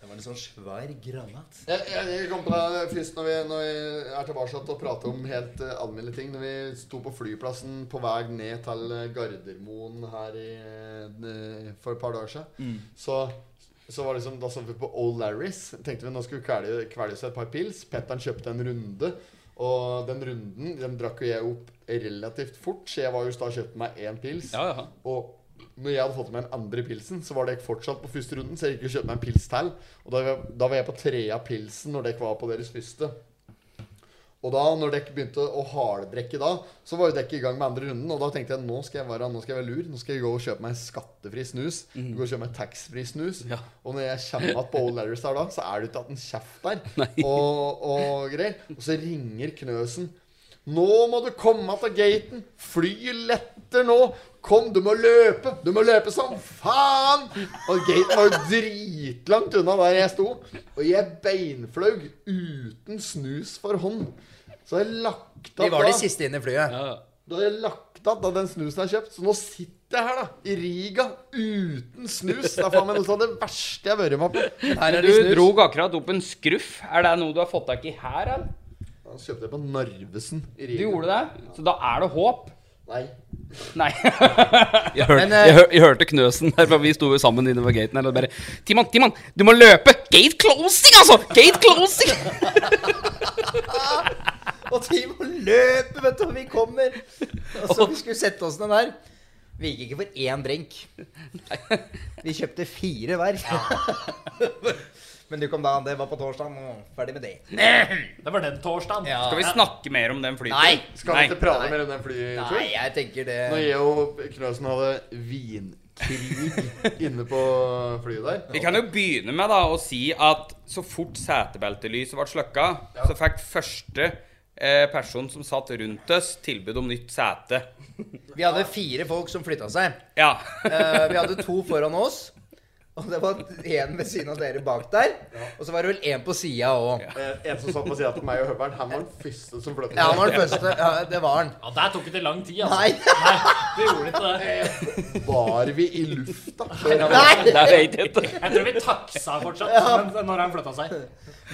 Det var en sånn svær granat. Jeg, jeg, jeg kom på det først når vi, når vi er tilbake og prater om helt eh, alminnelige ting. Når vi sto på flyplassen på vei ned til eh, Gardermoen her i, eh, for et par dager siden, så, så var det liksom, da så vi på O'Larris. Tenkte vi nå skulle kvelje, kvelje oss et par pils. Petteren kjøpte en runde. Og den runden den drakk jo jeg opp relativt fort, så jeg var jo i stad og kjøpte meg én pils. Ja, ja. Og når jeg hadde fått meg den andre pilsen, så var dere fortsatt på første runden. Så jeg gikk og kjøpte meg en pils til. Og da, var- da var jeg på trea pilsen når dere var på deres første. Og da, når dere begynte å harddrekke da, så var jo dere i gang med andre runden. Og da tenkte jeg nå skal jeg være, nå skal jeg være lur. Nå skal jeg gå og kjøpe meg en skattefri snus. Gå og kjøpe meg taxfree snus. Og når jeg kommer igjen på Old Larrys der da, så er det ikke at en kjeft der. Og, og greier. Og så ringer Knøsen. Nå må du komme til gaten. Flyet letter nå. Kom, du må løpe! Du må løpe som faen! Og gaten var jo dritlangt unna der jeg sto. Og jeg beinflaug uten snus for hånd. Så har jeg lagt Vi av var da. de siste inn i flyet. Ja, ja. Da har jeg lagt av da den snusen jeg har kjøpt. Så nå sitter jeg her, da. I Riga. Uten snus. Det er faen meg noe av det verste jeg har vært med på. Her er Du det snus. drog akkurat opp en skruff. Er det noe du har fått tak i her? Eller? Da kjøpte jeg på Narvesen i Du Riga. gjorde det? Så da er det håp? Nei. Nei. Jeg, hørte, Men, eh, jeg, hør, jeg hørte knøsen der, for vi sto jo sammen inne ved gaten her og bare Timon, Timon, du må løpe! Gate closing, altså! Gate closing! Og de må løpe, vet du, og vi kommer. Og så vi skulle sette oss ned der. Vi gikk ikke for én drink. Vi kjøpte fire hver. Men du kom da, det var på torsdag. Ferdig med det. Det var den torsdagen. Skal vi snakke mer om den Nei! flyturen? Skal vi ikke prate mer om den Nei, flyturen? jeg tenker det Når jeg og Knøsen hadde vinkrig inne på flyet Vi der. kan jo begynne med da å si at så fort setebeltelyset ble slukka, så fikk første eh, person som satt rundt oss, tilbud om nytt sete. Vi hadde fire folk som flytta seg. Ja. Eh, vi hadde to foran oss. Og det var én ved siden av dere bak der. Og så var det vel én på sida òg. Eh, En som satt på sida til meg og Høveren, han var den første som flytta Ja, han var den første. Ja, det var han. Ja, Der tok ikke det lang tid, altså. Nei! Det gjorde ikke det. Var vi i lufta? Nei! Det vet jeg ikke. Jeg tror vi taksa fortsatt men- når han flytta seg.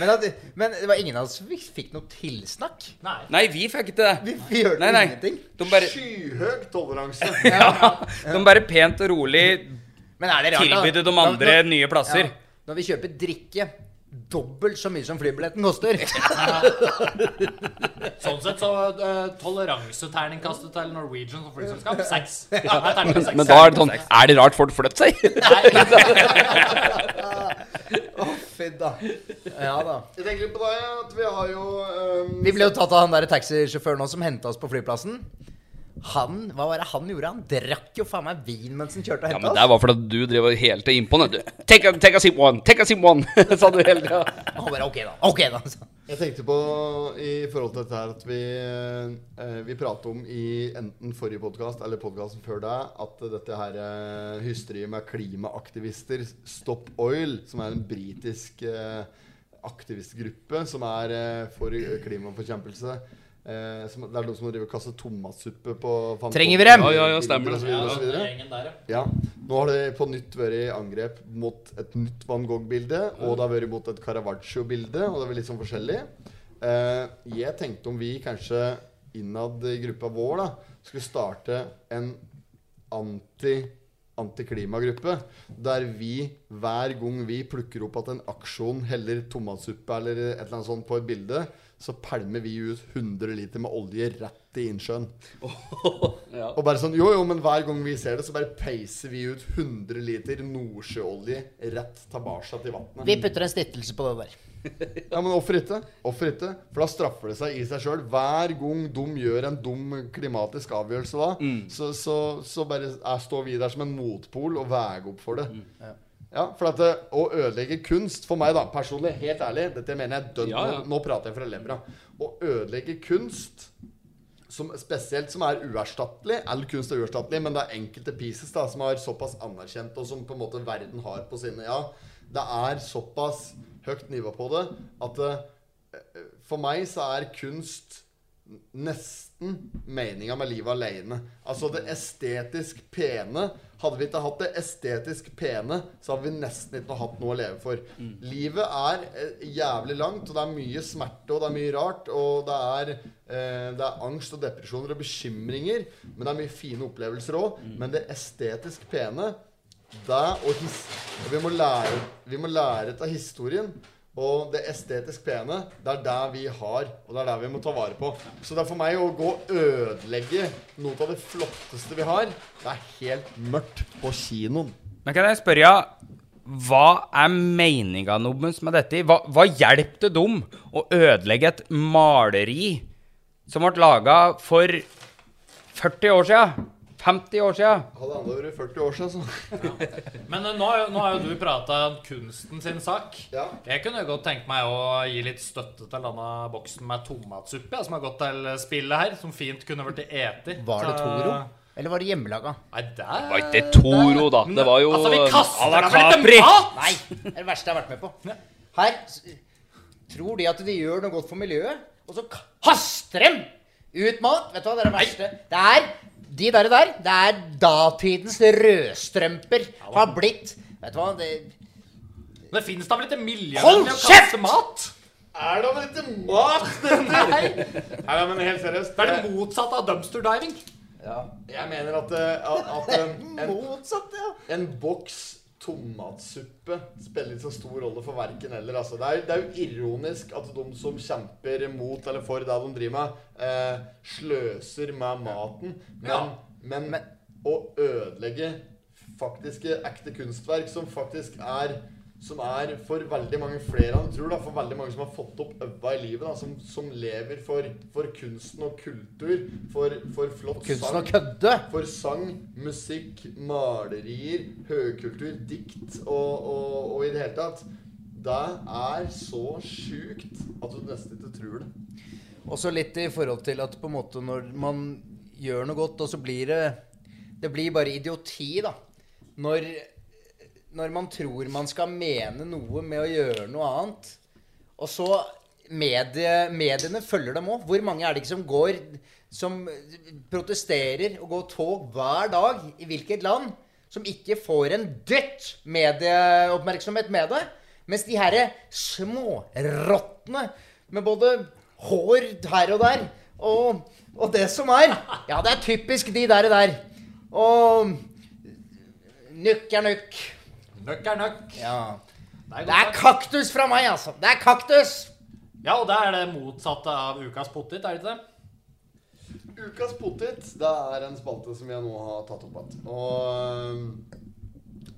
Men, at, men det var ingen av oss som fikk- fikk noe tilsnakk. Nei. Nei, vi fikk ikke det. Vi, vi hørte Nei, nei. ingenting. De bare, Skyhøg toleranse. ja, de bare pent og rolig Men er det rart, da? tilbød de Når- andre når- nye plasser. Ja, når vi kjøper drikke dobbelt så mye som flybilletten koster. Sånn sett så eh, toleranseterningkastet til Norwegian som flyselskap seks. Ja, det er terningkast seks. Men da er det sånn Er det rart folk flytter seg? Fy da. Ja da. Jeg tenker litt på deg, at vi har jo ehm, Vi ble jo tatt av han der taxisjåføren også som henta oss på flyplassen. Han, Hva var det han gjorde? Han drakk jo faen meg vin mens han kjørte og Ja, henta men oss. det var fordi du drev og helte innpå den. du. Take a, take a sip one, take a sip one, sa du hele tida. Han bare OK, da. OK, da. sa han. Jeg tenkte på i forhold til dette her at vi, eh, vi pratet om i enten forrige podkast eller podkasten før det, at dette her eh, hysteriet med klimaaktivister, Stop Oil, som er en britisk eh, aktivistgruppe som er eh, for klimaforkjempelse eh, som, Det er de som driver og kaster tomatsuppe på Van Trenger vi dem? Gogh- Ja, ja, ja, stemmer og det. så videre, og så videre. Gjengen der, ja. Ja. Nå har det på nytt vært angrep mot et nytt Van Gogh-bilde, og det har vært mot et Caravaggio-bilde, og det er vel litt sånn forskjellig. Eh, jeg tenkte om vi kanskje innad i gruppa vår da, skulle starte en anti antiklimagruppe, der vi hver gang vi plukker opp at en aksjon heller tomatsuppe eller et eller annet sånt på et bilde, så pælmer vi ut 100 liter med olje rett i innsjøen. Og bare sånn, jo jo, men hver gang vi ser det, så bare peiser vi ut 100 liter nordsjøolje rett tilbake til vannet. Vi putter en stiftelse på det der. Ja, men hvorfor ikke? Hvorfor ikke? For da straffer det seg i seg sjøl. Hver gang de gjør en dum klimatisk avgjørelse da, Mm. så, så, så bare er, står vi der som en motpol og veier opp for det. Mm. Ja, for at det, å ødelegge kunst For meg, da, personlig, helt ærlig, dette mener jeg dønn Ja, ja. Nå, nå prater jeg fra levra. Å ødelegge kunst som, spesielt som er uerstattelig. All kunst er uerstattelig, men det er enkelte pieces da, som er såpass anerkjent, og som på en måte verden har på sine Ja, det er såpass høyt nivå på det at eh, for meg så er kunst nesten meninga med livet aleine. Altså det estetisk pene. Hadde vi ikke hatt det estetisk pene, så hadde vi nesten ikke hatt noe å leve for. Livet er eh, jævlig langt, og det er mye smerte, og det er mye rart. Og det er, eh, det er angst og depresjoner og bekymringer. Men det er mye fine opplevelser òg. Men det estetisk pene, det og his vi må lære, vi må lære av historien. Og det estetisk pene, det er det vi har, og det er det vi må ta vare på. Så det er for meg å gå og ødelegge noe av det flotteste vi har. Det er helt mørkt på kinoen. Men kan jeg spørre, ja, hva er meninga deres med dette? Hva, hva hjelper det dem å ødelegge et maleri som ble laga for 40 år sia? 50 år sia? Hadde enda vært 40 år siden, så Men eh, nå, har jo- nå har jo du prata om kunsten sin sak. Ja. Jeg kunne jo godt tenke meg å gi litt støtte til denne boksen med tomatsuppe ja, som har gått til spillet her, som fint kunne vært etig. Var det Så- Toro? Eller var det hjemmelaga? Nei, der Var ikke det Toro, da? Det var jo Altså, vi kaster à la dem vel Capri. til mat! Nei, det er det verste jeg har vært med på. Her s- tror de at de gjør noe godt for miljøet, og så kaster dem ut mat. Vet du hva, det er det verste. Det er de der, der det er datidens rødstrømper har blitt. Vet du hva, det Det fins da vel ikke miljøvennlig Hold å kjeft! kaste mat? Er det vel ikke mat, dette? Nei, Nei, men helt seriøst. det er det motsatte av dumpster diving. Jeg mener at, eh, at at, eh, en, Motsatt, ja. en boks tomatsuppe spiller ikke så stor rolle for verken eller. Altså. Det, er, det er jo ironisk at de som kjemper mot eller for det de driver med, eh, sløser med maten. Men, Ja. men, å ødelegge faktiske ekte kunstverk som faktisk er som er for veldig mange flere enn du tror. da, For veldig mange som har fått opp øva i livet. da, Som, som lever for, for kunsten og kultur. For, for flott Kunsten å kødde. for sang, musikk, malerier, høykultur, dikt og, og, og i det hele tatt. Det er så sjukt at du nesten ikke tror det. Og så litt i forhold til at på en måte når man gjør noe godt, og så blir det Det blir bare idioti, da. Når, når man tror man skal mene noe med å gjøre noe annet. Og så medie, Mediene følger dem òg. Hvor mange er det ikke som går Som protesterer og går tog hver dag i hvilket land? Som ikke får en dødt medieoppmerksomhet med det. Mens de herre smårottene med både hår her og der og, og det som er Ja, det er typisk de der og der. Og nukk er nukk. Nøkk er nøkk. Ja. Det er Det godt er sagt. kaktus fra meg, altså. Det er kaktus! Ja, og det er det motsatte av ukas pottit, er det ikke det? Ukas potet, det er en spalte som jeg nå har tatt opp igjen. Og øhm,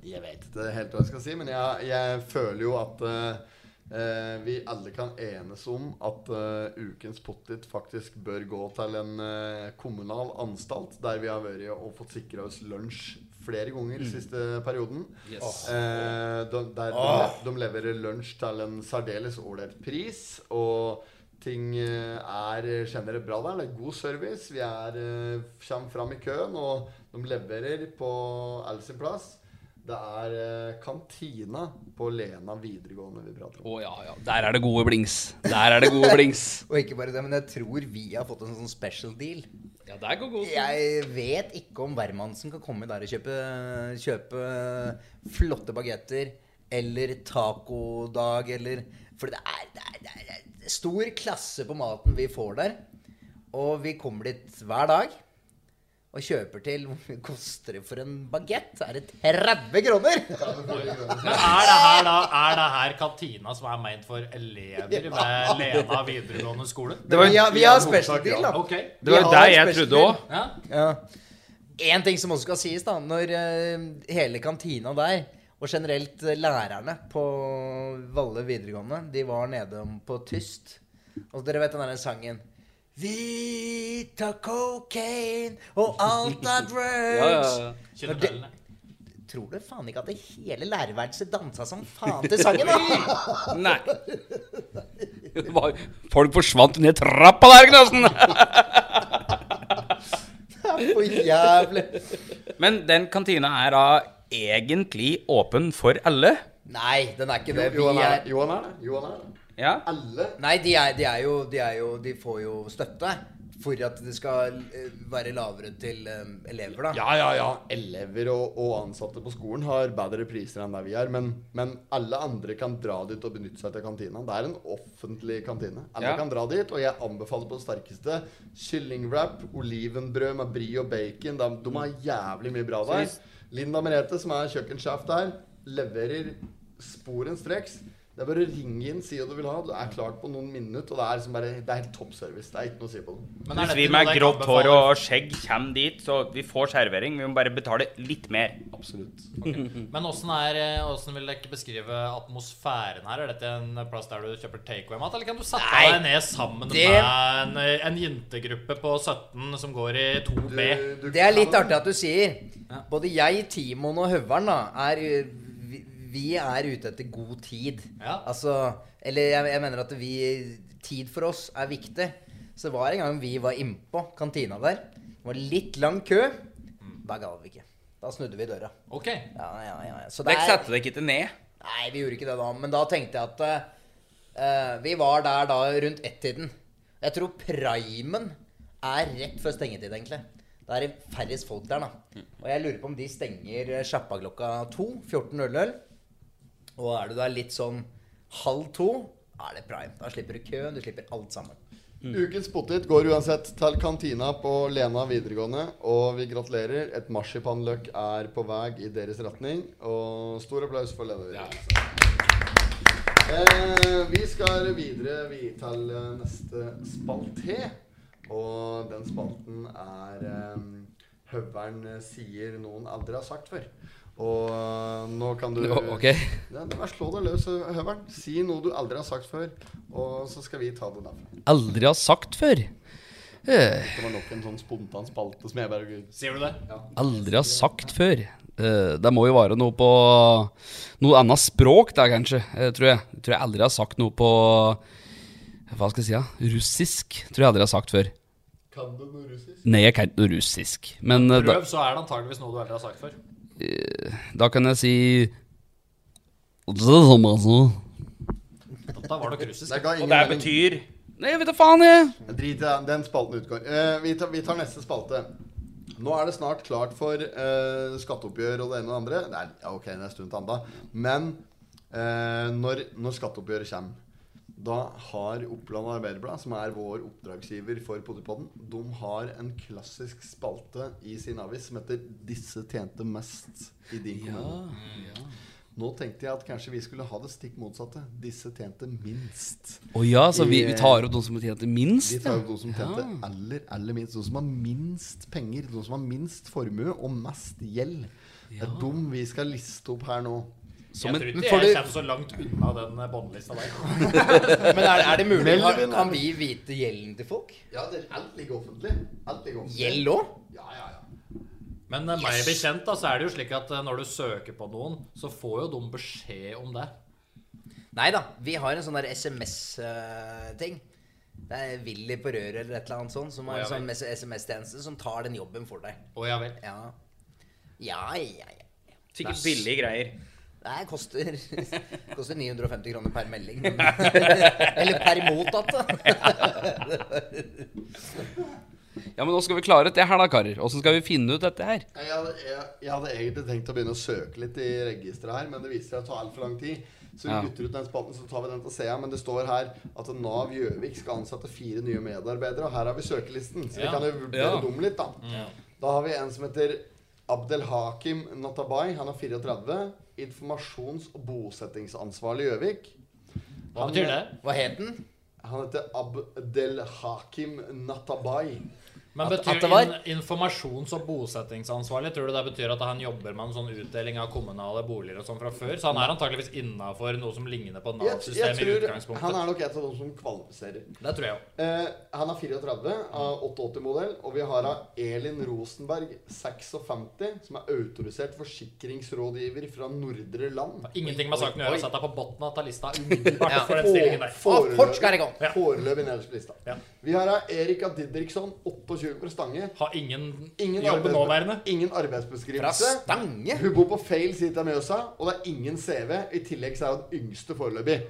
jeg vet ikke helt hva jeg skal si, men jeg, jeg føler jo at øh, øh, vi alle kan enes om at øh, ukens potet faktisk bør gå til en øh, kommunal anstalt, der vi har vært og fått sikra oss lunsj flere ganger siste perioden. Eh, de, der de, de leverer lunsj til en særdeles ålreit pris. Og ting eh, er generelt bra der. Det er god service. Vi er, eh, kommer fram i køen, og de leverer på all sin plass. Det er eh, kantina på Lena videregående vi prater om. Å ja, ja. Der er det gode blings. Der er det gode blings. Og ikke bare det, men jeg tror vi har fått en sånn special deal. Ja, der går godt. Jeg vet ikke om hvermannsen kan komme der og kjøpe, kjøpe flotte bagetter eller tacodag eller For det er, det, er, det, er, det er stor klasse på maten vi får der. Og vi kommer dit hver dag og kjøper til Hvor mye koster det for en bagett? Er det 30 kroner? Men er det her da er det her kantina som er ment for elever ved Lena videregående skole? Men vi, har, vi har special deal, da. Ok. Det var jo Vi har det jeg special trodde deal. òg. Ja. Ja. En ting som også skal sies, da. Når eh, hele kantina der, og generelt eh, lærerne på Valle videregående, de var nede om på tyst. Og dere vet den derre sangen Vi tar cocaine, og alt er drugs. Kjenner bellene. Tror du faen ikke at det hele lærerværelset dansa som faen til sangen, da? Nei. Det var- Folk forsvant ned trappa der, Knassen! For jævlig. Men den kantina er da egentlig åpen for alle? Nei, den er ikke det. Vi Johan er er det. Johan er det. Johan er det. Ja? Alle Nei, de er, de er jo De, er jo, de får jo støtte. for at det skal eh, være lavere til eh, elever, da. Ja, ja, ja. Elever og, og ansatte på skolen har bedre priser enn der vi er. Men, men alle andre kan dra dit og benytte seg av kantina. Det er en offentlig kantine. Alle Ja. kan dra dit, og jeg anbefaler på det sterkeste kyllingwrap, olivenbrød med brie og bacon. De, de har jævlig mye bra der. Linda Merete, som er kjøkkensjef der, leverer sporenstreks. Det er bare å ringe inn, si hva du vil ha. Du er klart på noen minutter. Og det er, liksom bare, det er helt topp service. Det er ikke noe å si på den. Men er Hvis dette vi noe med dere grått anbefaler? hår og skjegg kommer dit, så vi får servering. Vi må bare betale litt mer. Absolutt. Men åssen er, eh, åssen vil dere beskrive atmosfæren her? Er dette en plass der du kjøper takeaway-mat, eller kan du sette Nei, deg ned sammen det- med en, en jentegruppe på 17 som går i 2B? Du- du Det er litt kan- artig at du sier. Både jeg, Timon og Høveren da, er, vi, vi er ute etter god tid. Ja. Altså, eller jeg, jeg mener at vi, tid for oss er viktig. Så det var en gang vi var innpå kantina der. Det var litt lang kø. Da ga vi ikke. Da snudde vi døra. Ok. Ja, ja, ja. ja. Så det Dere er- setter dere ikke ned. Nei, vi gjorde ikke det da, men da tenkte jeg at eh, Vi var der da rundt ett-tiden. Jeg tror primen er rett før stengetid, egentlig. Da er det færrest folk der, da. Og jeg lurer på om de stenger eh, sjappa klokka to. 14.00. Og er du der litt sånn halv to, da er det prime. Da slipper du køen, du slipper alt sammen. Ukens potet går uansett til kantina på Lena videregående, og vi gratulerer. Et marsipanløk er på vei i deres retning, og stor applaus for Lena videregående. Eh, vi skal videre vi, til eh, neste spalte, og den spalten er eh, Høveren sier noen aldri har sagt før. Og eh, nå kan du Å, ok. Ja, bare slå deg løs, Høveren. Si noe du aldri har sagt før, og så skal vi ta det derfra. Aldri har sagt før. Det var nok en sånn spontan spalte som jeg bare Sier du det? Aldri har sagt før. Eh, det må jo være noe på Noe annet språk der, kanskje. eh, tror jeg. Tror jeg aldri har sagt noe på Hva skal jeg si, da? Russisk. Tror jeg aldri har sagt før. Kan du noe russisk? Nei, jeg kan ikke noe russisk. Men eh, da, Prøv, så er det antageligvis noe du aldri har sagt før. da kan jeg si Nei, Da var nok russisk. Det ga Og ingen det mening. betyr jeg vet da faen, jeg. Drit i den- den spalten utgår. Eh, vi, tar, vi tar neste spalte. Nå er det snart klart for eh, skatteoppgjør og det ene og det andre. Nei, ja, ok, det er en stund til enda. Men eh, når, når skatteoppgjøret kommer, da har Oppland Arbeiderblad, som er vår oppdragsgiver for Potipodden, de har en klassisk spalte i sin avis som heter 'Disse tjente mest i din kommune'. Nå tenkte jeg at kanskje vi skulle ha det stikk motsatte. Disse tjente minst. Å ja, så vi, vi tar opp noen som har tjent minst? De tar jo de som tjente aller, aller minst. De som har minst penger, de som har minst formue og mest gjeld. Det er dem vi skal liste opp her nå. Som Jeg en, tror men ikke får jeg du kommer så langt unna den eh, båndlista der. Men er, er det mulig? Melvin, Har, er kan det- vi vite gjelden til folk? Ja, det, alt ligger offentlig. Alt ligger offentlig. Gjeld òg? Ja, ja, ja. Men eh, meg bekjent da, så er det jo slik at eh, når du søker på noen, så får jo de beskjed om det. Nei da, vi har en sånn der SMS-ting. eh, Det er Willy på røret eller et eller annet sånt, som Å, har ja en vel. sånn SMS-tjeneste som tar den jobben for deg. Å ja vel. Ja, ja, ja. ja. sikkert billige greier. Det her koster, koster 950 kroner per melding. men- Eller per mottatt, da. Ja, men nå skal vi klare dette her, da, karer. Åssen skal vi finne ut dette her? Jeg, hadde- jeg, jeg hadde egentlig tenkt å begynne å søke litt i registeret her, men det viser seg å ta altfor lang tid. Så vi Ja. kutter ut den spalten, så tar vi den til Sea. Men det står her at Nav Gjøvik skal ansette fire nye medarbeidere, og her har vi søkelisten. Så vi Ja. kan jo vurdere Ja. dem litt, da. Da har vi en som heter Abdelhakim Natabai. Han er 34. Informasjons- og bosettingsansvarlig i Gjøvik. Hva betyr det? Hva het den? Han heter Abdelhakim Natabai. Men At- betyr at det var- in- informasjons- og bosettingsansvarlig Tror du det betyr at han jobber med en sånn utdeling av kommunale boliger og sånn fra før? Så han er antakeligvis innafor noe som ligner på Jeg, jeg Nav-systemet i tror utgangspunktet. han er nok en av de som kvalifiserer. Det tror jeg òg. Eh, han er 34 av 88-modell, og vi har av Elin Rosenberg, 56, som er autorisert forsikringsrådgiver fra Nordre Land. Ingenting med saken å Oi, gjøre. oi. Sett deg på bunnen av lista umiddelbart Ja. for den stillingen Å, der. Å, fort skal det gå. Foreløpig nederst på lista. Ja. Vi har av Erika Didriksson, 28 28 fra Stange. Har ingen, Ingen, jobb arbeidsbe- nåværende. ingen Fra arbeidsbeskrivelse. Stange? Hun bor på feil side av Mjøsa, og det er ingen CV. I tillegg så er hun den yngste foreløpig.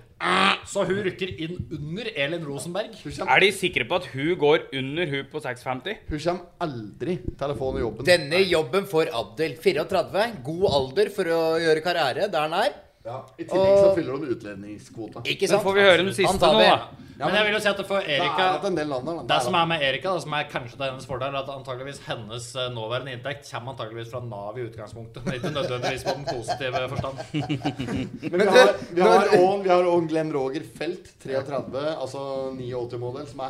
Så hun rykker inn under Elin Rosenberg. Hun kommer, Er de sikre på at hun går under hun på 650? hun kommer aldri til å få noe jobben. Denne jobben får Abdel. 34, god alder for å gjøre karriere der han er. Ja, I tillegg så Og- fyller hun utlendingskvota. Ikke Men sant? får vi høre den Han siste tar nå, det. da? Men jeg vil jo si at for Det Erika er at en del land er da. Det som er med Erika, da, som er kanskje til hennes fordel, er at antageligvis hennes eh, nåværende inntekt kommer antageligvis fra Nav i utgangspunktet. men Ikke nødvendigvis på den positive forstand. Men vi har, vi har, også- vi har også Glenn Roger Felt, 33, altså 89-modell, som er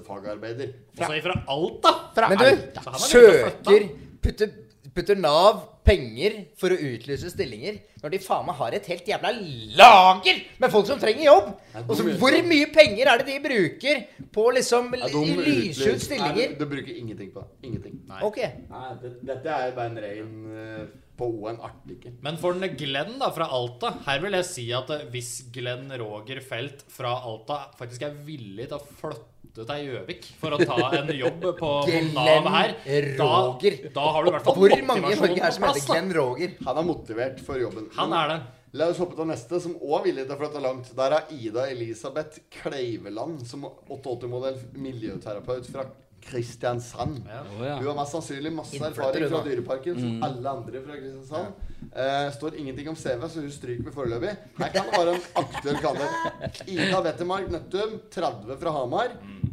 helsefagarbeider. Altså, Også ifra Alta! Så han Men du, er litt av søker fløtta. putter, putter Nav penger for å utlyse stillinger når de faen meg har et helt jævla lager med folk som trenger jobb? er Og så dum, hvor vet du. mye penger er det de bruker på å liksom Er de lyse utlys- ut stillinger? Nei, Du bruker ingenting på det. Ingenting. Ok. Nei, det, dette er jo bare en rein eh, på O-en artikkel. Men for den Glenn da, fra Alta Her vil jeg si at eh, hvis Glenn Roger Felt fra Alta faktisk er villig til å flytte til Gjøvik for å ta en jobb på, på Glenn Nav her, da, Roger. da har du i hvert fall Hvor mange i motivasjonen Norge er det på som heter plass, da. Glenn Roger? Han er motivert for jobben. Han er det. La oss hoppe til neste, som òg er villig til å flytte langt. Der er Ida Elisabeth Kleiveland, som 88-modell miljøterapeut fra Kristiansand. Å, ja. Hun har mest sannsynlig masse Innflytter, erfaring fra hun, da. Dyreparken, som Mm. alle andre fra Kristiansand. Eh, står ingenting om CV, så hun stryker med foreløpig. Her kan det være en aktuell kandidat. Ida Wettermark Nøttum, 30 fra Hamar. Mm.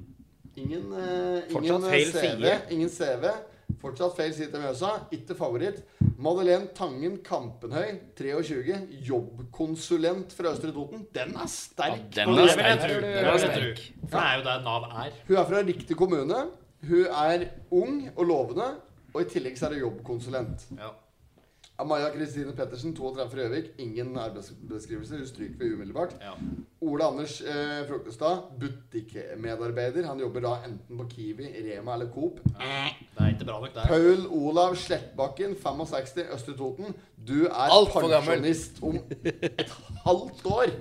Ingen, eh, ingen Fortsatt eh, feil CV. side. Ingen CV. Fortsatt feil side til Mjøsa. Ikke favoritt. Madeleine Tangen Kampenhøy, 23. Jobbkonsulent fra Østre Toten. Den er sterk. Det Den er vil jeg sterk. tro. Det vil jeg tro. For det er jo der Nav er. Hun er fra riktig kommune. Hun er ung og lovende. Og i tillegg så er hun jobbkonsulent. Ja. Amaya Kristine Pettersen, 32 fra Gjøvik. Ingen arbeidsbeskrivelse. Hun stryker vi umiddelbart. Ja. Ole Anders eh, Frokkestad, butikkmedarbeider. Han jobber da enten på Kiwi, Rema eller Coop. Det er ikke bra nok, det. Paul Olav Slettbakken, 65, Østre Toten. Du er Alt for gammel. pensjonist om et halvt år.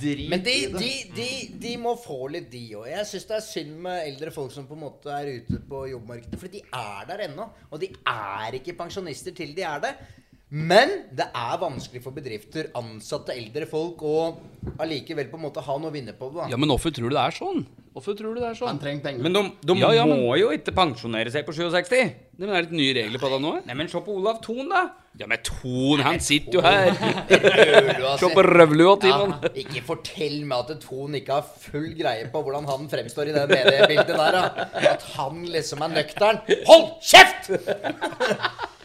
Drit Men de, i det. de, de, de må få litt, de òg. Jeg syns det er synd med eldre folk som på en måte er ute på jobbmarkedet, for de er der ennå. Og de er ikke pensjonister til de er det. Men det er vanskelig for bedrifter, ansatte, eldre folk å allikevel på en måte ha noe å vinne på det. Ja, da. men hvorfor tror du det er sånn? Hvorfor tror du det er Han sånn? trenger penger. Men de, de Ja, ja, men- må jo ikke pensjonere seg på 67. Det er litt nye regler på det nå. eh? Nei, men se på Olav Thon, da. Ja, men Ton, han sitter jo her. Rødlua Se si. på røvlua til han. Ja, ikke fortell meg at Ton ikke har full greie på hvordan han fremstår i det mediebildet der. Da. At han liksom er nøktern. Hold kjeft!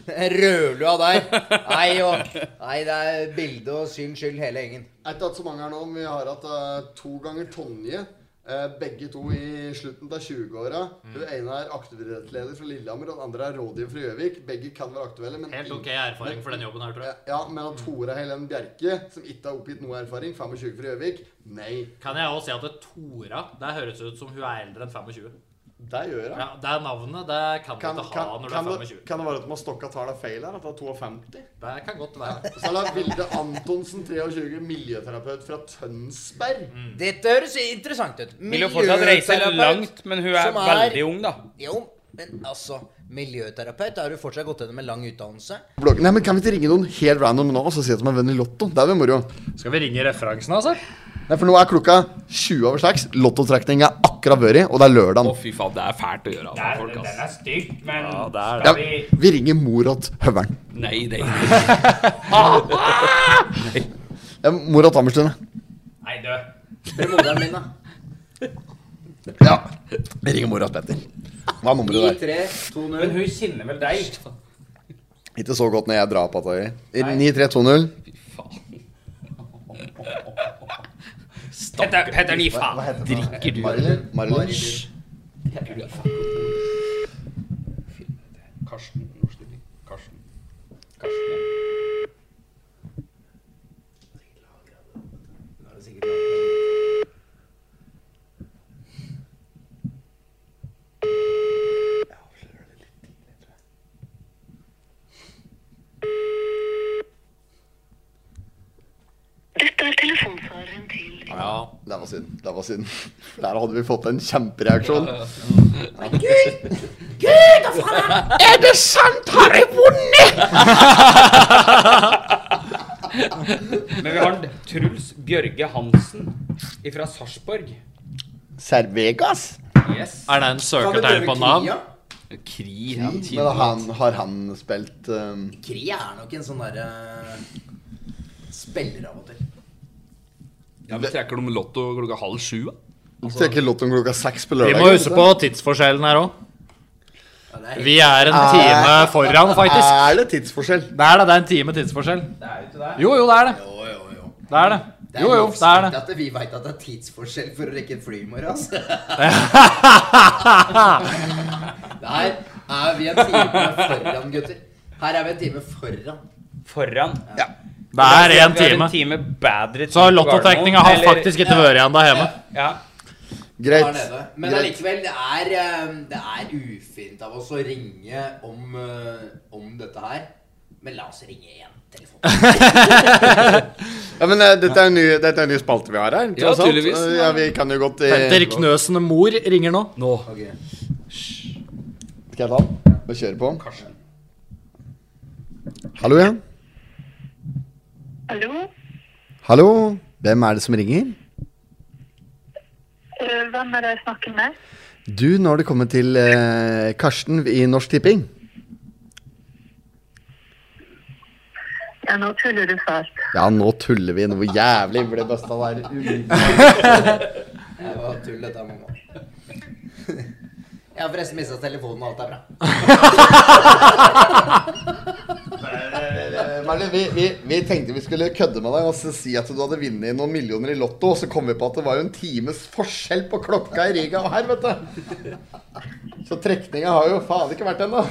Rødlua der. Nei, og, nei, det er bilde og syns skyld, hele gjengen. Jeg har ikke hatt så mange her nå, men vi har hatt eh, to ganger Tonje. eh, begge to i slutten av 20-åra. Mm. Hun ene er aktivitetsleder fra Lillehammer, og den andre er rådgiver fra Gjøvik. Begge kan være aktuelle, men Helt ok Mm. erfaring for den jobben her, tror jeg. Ja, men at Tora Helen Bjerke, som ikke har oppgitt noe erfaring, 25 fra Gjøvik Nei, Kan jeg også si at det Tora Det høres ut som hun er eldre enn 25. det gjør hun. Ja, Det er navnet. Det kan du Kan, ikke ha kan, når du kan, er det, 25. kan det være at de har stokka tallene feil her? At det er 52? Det kan godt være. Så er det Vilde Antonsen, 23, miljøterapeut fra Tønsberg. Dette høres interessant ut. Vil jo fortsatt reise Miljøterapeut, langt, men hun er som er- veldig ung, da. Jo, men altså Miljøterapeut, da har du fortsatt gått gjennom en lang utdannelse. Bloggen. Nei, men Kan vi ikke ringe noen helt random nå og så si at de er venn i Lotto? Det er vel moro. Skal vi ringe referansen, altså? Nei, For nå er klokka 20 over seks. Lottotrekninga er akkurat vært, og det er lørdag. Å, fy faen, det er fælt å gjøre altså, folk, ass. er stygt, men Ja, det er Ja, det. vi ringer Morat Høveren. Nei, nei, nei. Ja, Morat Hammerstuen. Nei, du. Moren min, da. Ja. Vi ringer Morat Petter. Hva er nummeret der? 3-2-0. Men hun kjenner vel deg? Ikke så godt når jeg drar på at det er 9320. Heter, heter ni faen? Ah, Drikker du? Marilyn? Marilyn. Hysj. Karsten Nordstilling. Karsten. Karsten. Dette er telefonsvareren til Det var synd. Det var synd. Der hadde vi fått en kjempereaksjon. Er det sant? Har jeg vunnet? Men vi har en Truls Bjørge Hansen fra Sarpsborg. Servegas? Yes. Er det en søkertegn på navn? Kri. ja, Men tiden. han, har han spilt um, Kri er nok en sånn derre Spiller av og til. Ja, vi trekker dem lotto klokka halv sju. da. Tenker Lotton klokka seks på Vi lørdag. må huske på tidsforskjellen her òg. Ja, det er Vi er Ah. en time foran, faktisk. Er det tidsforskjell? Det er det, det er en time tidsforskjell. Jo, jo, det er det. Jo, jo, jo. Det er det. Det er Jo, jo, nok det er det. sykt At vi veit at det er tidsforskjell for å rekke et fly i morgen, altså. Der er vi en time foran, gutter. Her er vi en time foran. Foran. Det er en Vi har time. en time bedre tid Så på Gardermoen, lottotekninga har eller- faktisk ikke vært igjen der hjemme. ja. Her Greit. nede. Men Greit. allikevel, det er, eh, det er ufint av oss å ringe om, eh, om dette her. Men la oss ringe igjen. telefonen. Ja, men eh, dette er en ny, dette er en ny spalte vi har her. Ja, tross alt. tydeligvis. Eh, Ja, vi kan jo godt eh, Petter Knøsen mor ringer nå. Nå. Ok. Skal jeg ta den og kjøre på? Hallo, ja. Hallo? Hallo. Hvem er det som ringer? Eh, Hvem er det jeg snakker med? Du, nå har det kommet til eh, Karsten i Norsk Tipping. Ja, nå tuller du fælt. Ja, nå tuller vi noe jævlig. Ble busta der. umiddelbart. Det var tull, dette er mamma. Jeg har forresten mista telefonen, og alt er bra. Eh, Merle, vi, vi, vi tenkte vi skulle kødde med deg og så si at du hadde vunnet noen millioner i Lotto, og så kom vi på at det var jo en times forskjell på klokka i Riga og her, vet du. Så trekninga har jo faen ikke vært ennå.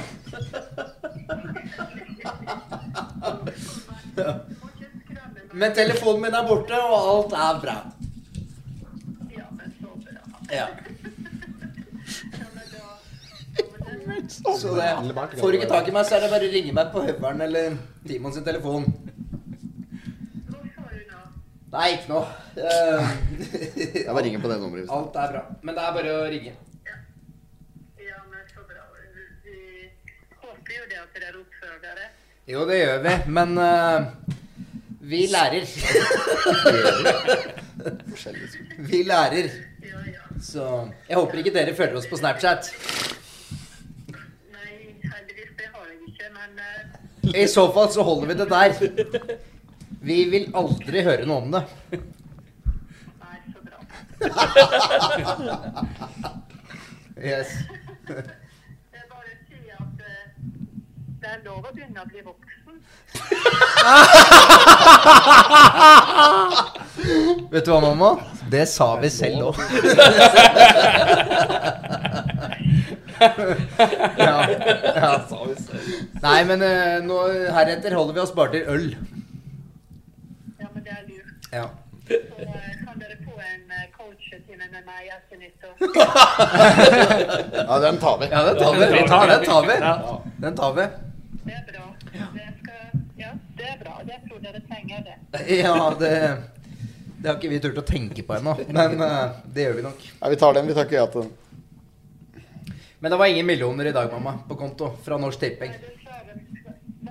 Men telefonen min er borte, og alt er bra. Ja. Så det, får du ikke tak i meg, så er det bare å ringe meg på høveren eller Timon sin telefon. Nei, ikke noe. Eh, Jeg bare ringer på det nummeret. hvis- alt er bra. Men det er bare å ringe. Ja, men så bra. Vi håper jo det at dere oppfører dere. Jo, det gjør vi, men eh, vi lærer. vi lærer. Så jeg håper ikke dere følger oss på Snapchat. Nei, heldigvis det har jeg ikke, men eh, I så fall så holder vi det der. Vi vil aldri høre noe om det. nei, så bra. Yes. Jeg bare sier at eh, det er lov å begynne å bli voksen. Vet du hva, mamma? Det sa vi selv òg. ja, ja. Nei, men eh, nå, heretter holder vi oss bare til øl. Ja, men det er lurt. Ja. Så eh, kan dere få en eh, coachetime med meg etter nyttår. Ja, den tar vi. Ja, den tar vi. Den tar, den tar vi. Den tar vi. Det er bra. Det skal, ja, det er bra. Jeg tror dere trenger det. Ja, det, det har ikke vi turt å tenke på ennå, men eh, det gjør vi nok. Ja, vi tar den. Vi takker ja til den. Men det var ingen millioner i dag, mamma, på konto fra Norsk Tipping. Men du klarer men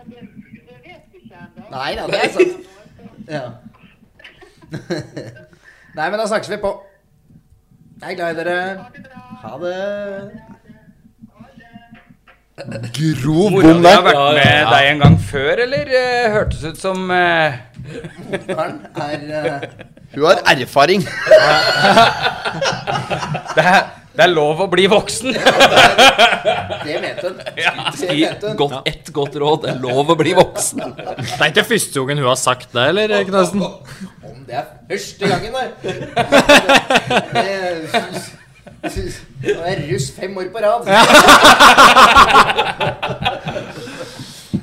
det, det vet vi ikke ennå. Nei da, det er sant. Ja. Nei, men da snakkes vi på. Jeg er glad i dere. Ha det bra. Ha det. Grov Mora bom di har der. vært med deg en gang før, eller eh, hørtes ut som eh, Morgenen er eh, Hun har erfaring. det, er, det er lov å bli voksen! Det vet hun. Det Gi vet hun. godt, ett godt råd. Det er lov å bli voksen. Det er ikke første gangen hun har sagt det, eller, Knøsen? Om det er første gangen, da! Nå er jeg russ fem år på rad.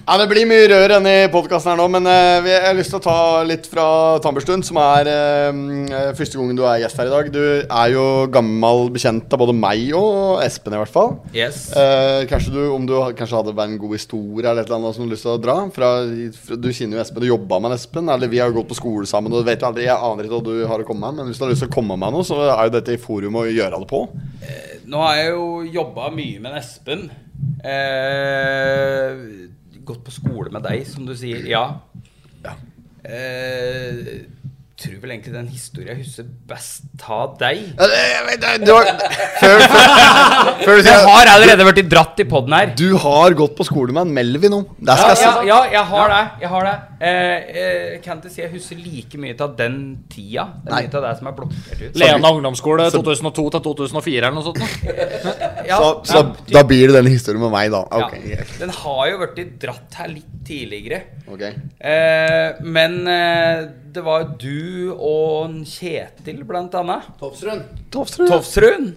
Ja, det blir mye rør enn i podkasten her nå, men eh, vi- jeg har lyst til å ta litt fra Tamberstuen, som er eh, eh, første gangen du er gjest her i dag. Du er jo gammel bekjent av både meg og Espen, i hvert fall. Yes. Eh, kanskje du, om du ha- kanskje hadde vært en god historie eller et eller annet som du har lyst til å dra? Fra, fra, du kjenner jo Espen, du jobba med Espen, eller vi har jo gått på skole sammen, og du vet jo aldri, jeg aner ikke hva du har å komme med, men hvis du har lyst til å komme med noe, så er jo dette i forum å gjøre det på. Nå har jeg jo jobba mye med Espen. Eh, gått på skole med deg, som du sier. Ja. Eh, tror vel egentlig den historien jeg husker best ta deg. Du har, før, før, før du sier- jeg har allerede vært dratt i poden her. Du har gått på skole med en Melvin nå. Det skal Ja, jeg si. ja, ja, jeg har det. Jeg har det. Eh, eh, kan ikke si jeg husker like mye av den tida. Det er Nei. mye av det som er blokkert ut. Lena ungdomsskole 2002 til 2004 eller noe sånt. nå. Ja, så så ja, da blir det den historien med meg, da. Ok, greit. Den har jo blitt dratt her litt tidligere. Ok. Eh, men eh, det var jo du og en Kjetil, blant annet. Topsrund. Tofsrud. Tofsrud.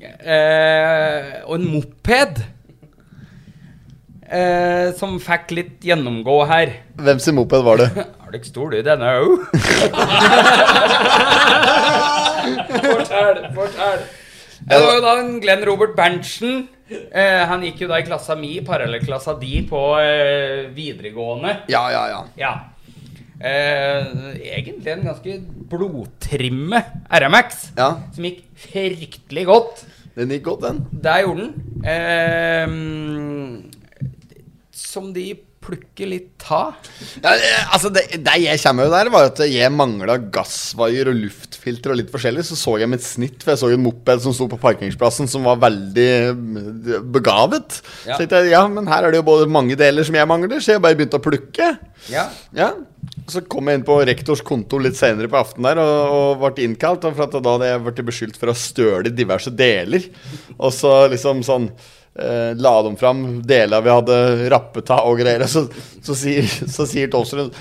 Eh, og en moped. Eh, som fikk litt gjennomgå her. Hvem sin moped var det? Er du ikke stor, du, denne òg? fortell, fortell. Det var jo da en Glenn Robert Berntsen. Eh, han gikk jo da i klassa mi, parallellklassa di, på eh, videregående. Ja, ja, ja. Ja. Eh, egentlig en ganske blodtrimme RMX, Ja. som gikk fryktelig godt. Den gikk godt, den. Der gjorde den. Eh, som de plukker litt av. Ja, eh, altså, det, det jeg kommer jo der, var at jeg mangla gassvaier og luftfilter og litt forskjellig. Så så jeg mitt snitt, for jeg så en moped som sto på parkeringsplassen som var veldig mm, begavet. Ja. Så tenkte jeg ja, men her er det jo både mange deler som jeg mangler, så jeg bare begynte å plukke. Ja. Ja. Så kom jeg inn på rektors kontor litt senere på aften der og, og ble innkalt. For at da hadde jeg blitt beskyldt for å støle diverse deler. Og så liksom sånn eh, la de fram deler vi hadde rappet av og greier. Og så, så sier, så sier Tolstrøm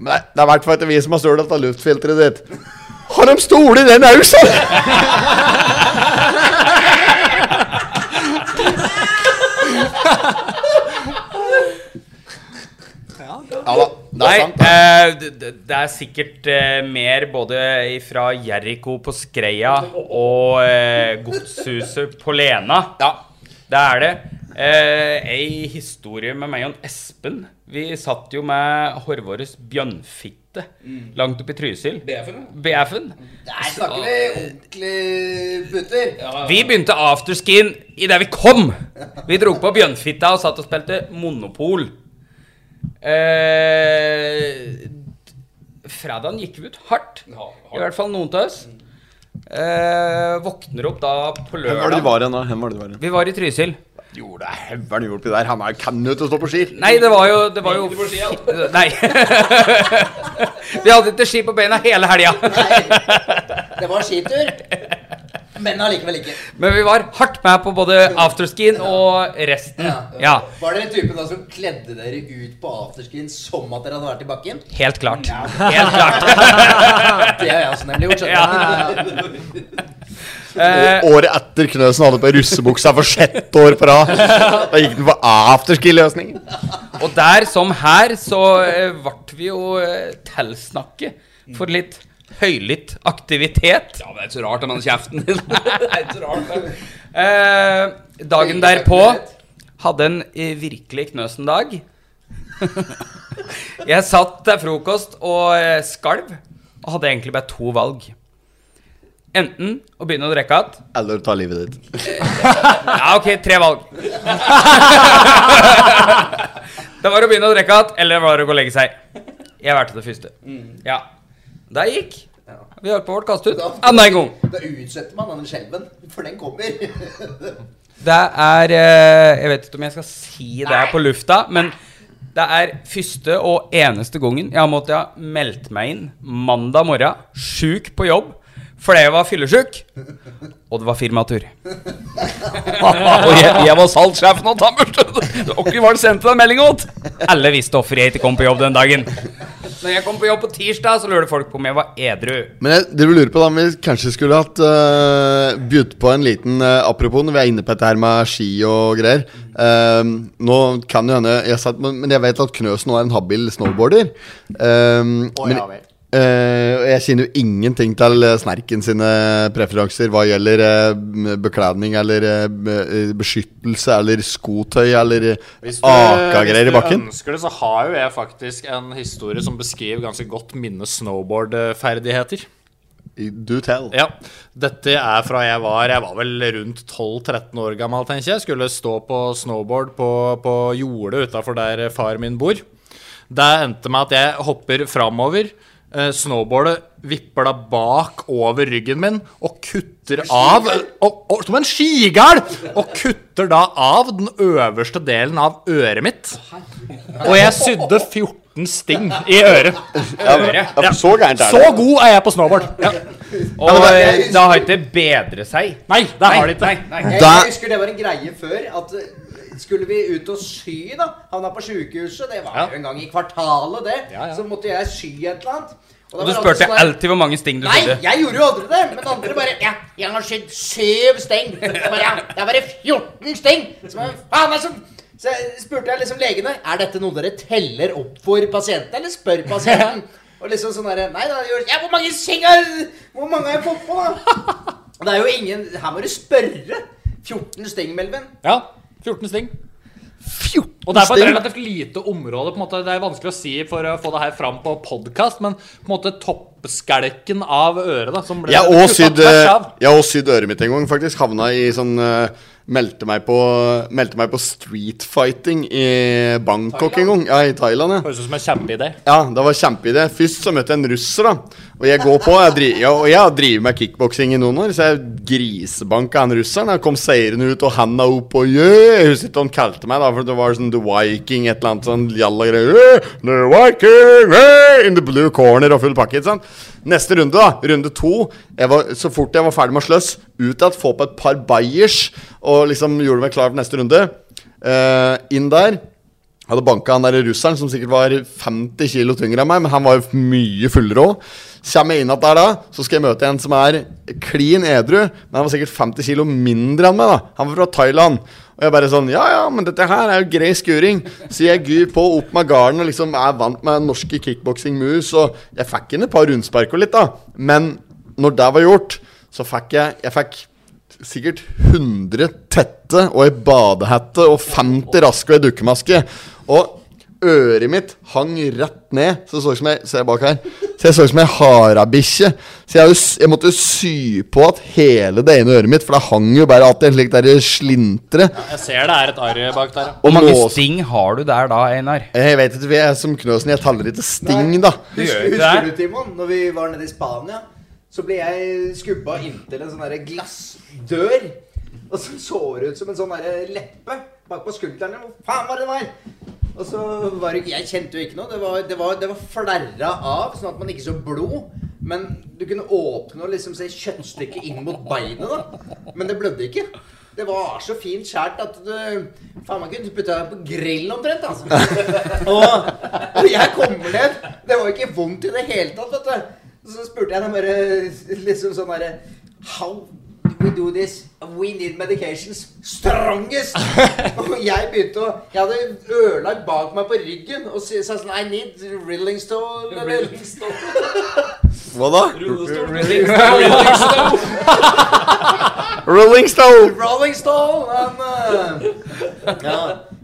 Men det, det er i hvert fall ikke vi som har stølet av luftfilteret ditt. Har de stol i den òg, sa han! Ja da. Det Nei, er sant. det. eh, det, det det er sikkert eh, mer både fra Jericho på Skreia og eh, godshuset på Lena. Ja, det er det. Eh, ei historie med meg og en Espen. Vi satt jo med Horvåres bjønnfitte Eh, Mm. langt oppe i Trysil. BF-en. Der snakker vi ordentlig putter. Vi begynte afterskin idet vi kom. Vi dro på bjønnfitta og satt og spilte Monopol. Eh, fredagen gikk vi ut hardt. I hvert fall noen av oss. Eh, våkner opp da på Hvem var det de lørdag. var igjen, da? Hvem var det de var igjen? Vi var i Trysil. Jo, det er heveren gjort oppi der. Han er jo kan jo ikke stå på ski. Nei, det var jo, det var jo Nei. Vi hadde ikke ski på beina hele helga. Det var skitur, men allikevel ikke. Men vi var hardt med på både afterskin og resten. Ja, Var dere typen da som kledde dere ut på afterskin som at dere hadde vært i bakken? helt klart. Helt klart. Det har jeg også nemlig gjort. skjønner du. Eh, Og Året etter Knøsen hadde på russebuksa for sjette år på rad. Da gikk den for afterski-løsningen. Og der som her så ble vi jo eh, tilsnakket for litt høylytt aktivitet. Mm. Ja, men det er ikke så rart om han kjeften din. Eh, dagen derpå hadde en eh, virkelig knøsen dag. Jeg satt til frokost og eh, skalv, og hadde egentlig bare to valg. Enten å begynne å drikke igjen Eller ta livet ditt. Ja, ok, tre valg. det var å begynne å drikke igjen, eller var det å gå og legge seg. Jeg valgte det første. Ja. Der gikk. Vi holdt på å bli kastet ut. Enda en gang. Da utsetter man den skjelven, for den kommer. Det er eh, Jeg vet ikke om jeg skal si det her på lufta, men det er første og eneste gangen jeg har måttet ha meldt meg inn mandag morgen, sjuk på jobb, fordi jeg var fyllesyk, og det var firmatur. og jeg, jeg var salgssjefen og tannbørsten. Hvem var det sendte den meldinga til? Alle visste hvorfor jeg ikke kom på jobb den dagen. Når jeg kom på jobb på tirsdag, så lurte folk på om jeg var edru. Men jeg dere lurer på da om vi kanskje skulle hatt uh, budt på en liten eh, Apropos når vi er inne på dette her med ski og greier. Ehm, nå kan jo hende jeg satt, men, men jeg vet at Knøsen nå er en habil snowboarder. Ehm, Å, men, ja vel. eh, og jeg kjenner jo ingenting til eh, Snerken sine preferanser hva gjelder eh, m- bekledning eller eh, be- eh, beskyttelse eller skotøy eller Hvis du, eh, akagreier i hvis du bakken. ønsker det, så har jo jeg faktisk en historie som beskriver ganske godt mine snowboardferdigheter. Do tell. Ja. Dette er fra jeg var Jeg var vel rundt 12-13 år gammel, tenker jeg. Skulle stå på snowboard på, på jordet utafor der far min bor. Det endte med at jeg hopper framover. eh, Snowboardet vipper da bak over ryggen min og kutter av og, og, Som en skigæl! Og kutter da av den øverste delen av øret mitt. Og jeg sydde 14 sting i øret. Ja, men- ja, for så gærent er det. Så god er jeg på snowboard. Ja. Og eh, det har ikke bedret seg. Nei, det har det ikke. Jeg, jeg husker det var en greie før. At eh, skulle vi ut og sy, da Havna på sjukehuset. Det var jo en gang i kvartalet, det. Så måtte jeg sy et eller annet. Og da var Og du alle spurte sånn der- alltid hvor mange sting du Nei, sydde. jeg gjorde jo aldri det. Men andre bare Ja, jeg har sydd syv steng. Jeg bare, ja, det er bare 14 steng. Så, bare, faen, det er sånn. så jeg spurte jeg liksom legene Er dette noe dere teller opp for pasienten, eller spør pasienten. Og liksom sånn derre Nei da, gjør- ja, hvor mange steng har Hvor mange har jeg fått på, da? Og det er jo ingen Her må du spørre. 14 steng, Melvin. Ja, 14 sting. Og det er på et relativt lite område. på en måte, Det er vanskelig å si for å få det her fram på podkast, men på en måte toppskalken av øret da, som ble Jeg har kuttet også sydd, tvers av. jeg har også sydd øret mitt en gang, faktisk. Havna i sånn eh, Meldte meg på Meldte meg på street fighting i Bangkok en gang. Ja, i Thailand, ja. Høres ut som en kjempeidé. Ja, det var kjempeidé. Først så møtte jeg en russer, da. Og jeg går på, jeg driver, ja, og jeg har drevet med kickboksing i noen år, så jeg grisebanka han russeren. Han kom seirende ut og handa opp og yeah! Jeg husker ikke hva han kalte meg, da, for det var sånn The Viking, et eller annet sånn jalla greier. «Yeah, The Viking, yeah!» in the blue corner og full pakke, ikke sant. Neste runde, da. Runde to. Jeg var, så fort jeg var ferdig med å sløss, ut igjen, få på et par bayers, og liksom gjorde meg klar for neste runde. Eh, inn der. Jeg hadde banka han der russeren, som sikkert var 50 kilo tyngre enn meg, men han var jo mye fullere òg. Kommer jeg inn igjen der da, så skal jeg møte en som er klin edru, men han var sikkert 50 kilo mindre enn meg, da. Han var fra Thailand. Og jeg bare sånn Ja, ja, men dette her er jo grei skuring. Så jeg gyr på opp med garden og liksom er vant med norske kickboksing-moves, og jeg fikk inn et par rundspark og litt, da. Men når det var gjort, så fikk jeg Jeg fikk sikkert 100 tette og ei badehette og 50 raske og ei dukkemaske. Og øret mitt hang rett ned, så det så ut som jeg ser bak her Så jeg så ut som ei harabikkje. Så jeg, har jo s- jeg måtte jo sy på at hele det ene øret mitt, for det hang jo bare att i en slik derre slintre. Jeg ser det er et arr bak der. Hvor mange sting har du der da, Einar? Jeg vet ikke, vi er som Knøsen, jeg teller ikke sting, da. Husker, husker du, Timon, når vi var nede i Spania, så ble jeg skubba inntil en sånn derre glassdør. Og så så det ut som en sånn derre leppe bakpå skuldrene. Hvor faen var det det var? Og så var det Jeg kjente jo ikke noe. Det var, det var, det var flerra av, sånn at man ikke så blod. Men du kunne åpne og liksom se kjøttstykket inn mot beinet, da. Men det blødde ikke. Det var så fint skjært at du Faen, man kunne putta det på grill omtrent, altså. og, og jeg kommer ned. Det var ikke vondt i det hele tatt, vet du. Så spurte jeg dem bare liksom sånn herre How we do this? We need medications. Strongest! Og jeg begynte å Jeg hadde ørlagt bak meg på ryggen og sa sånn I need Rilling Stone. eller- Hva da? Rolling Stone. Rolling Stone! Rolling Stone! Men, eh, ja,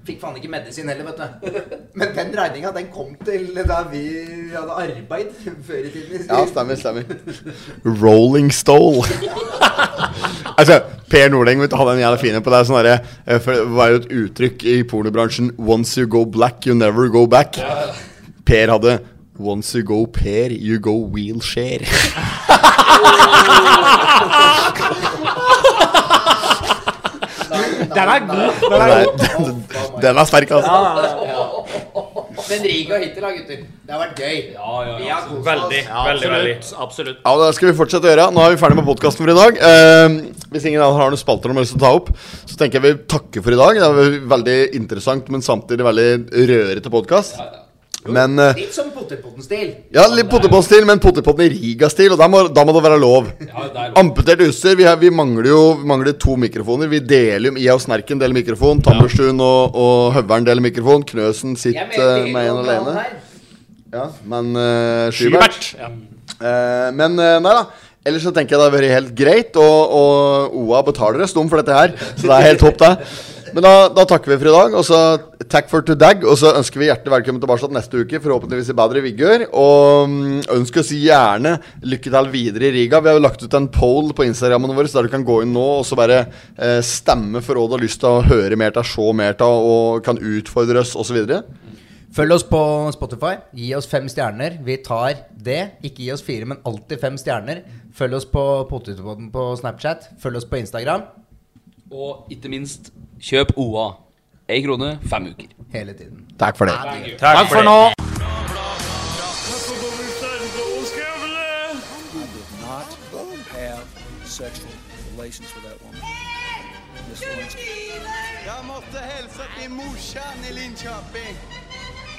fikk faen ikke medisin heller, vet du. Men den regninga, den kom til da vi hadde arbeid før i tiden. Ja, stemmer, stemmer. Rolling Stole. altså, Per Nordeng vet du, hadde en jævla fin en på det. Sånn derre, eh, for det var jo et uttrykk i pornobransjen 'Once you go black, you never go back'. Per hadde 'Once you go Per, you go wheelchair'. Den er god. Den er, den, den er sterk, altså. Men Riga hittil, da, gutter. Det har vært gøy. Vi har kost oss. Veldig, veldig, veldig. Absolutt. Ja, det skal vi fortsette å gjøre. Nå er vi ferdig med podkasten for i dag. Eh, hvis ingen andre har noen spalter de har lyst til å ta opp, så tenker jeg vi takker for i dag. Det var veldig interessant, men samtidig veldig rørete podkast. Men eh, Litt som Pottipotten-stil. ja, litt pottepottstil, men pottepotten i Riga-stil, og da må, da må det være lov. Amputert utstyr. Vi, har- vi mangler jo vi mangler to mikrofoner. Vi deler jo Jeg og Snerken deler mikrofon. Tammerstuen og, og Høveren deler mikrofon. Knøsen sitter eh, med en alene. Ja, men uh, Skybert. Ja. Eh, men eh, nei da. Ellers så tenker jeg det har vært helt greit, og, og OA betaler oss dum for dette her. Så det er helt topp, det. Men da, da takker vi for i dag, og så takk for todag. Og så ønsker vi hjertelig velkommen tilbake neste uke, forhåpentligvis i bedre vigør. Og mm, ønsk oss gjerne lykke til videre i Riga. Vi har jo lagt ut en poll på Instagrammen vår, så der du kan gå inn nå og så bare eh, stemme for hva du har lyst til å høre mer til, se mer til, og kan utfordre oss osv. Følg oss på Spotify. Gi oss fem stjerner. Vi tar det. Ikke gi oss fire, men alltid fem stjerner. Følg oss på Potetpodden på Snapchat. Følg oss på Instagram Og ikke minst, kjøp OA. Én krone, fem uker. hele tiden. Takk for det. Takk for nå. I did not have sexual relations with that woman. Miss Lewinsky. Jag måste hälsa till morsan i Linköping.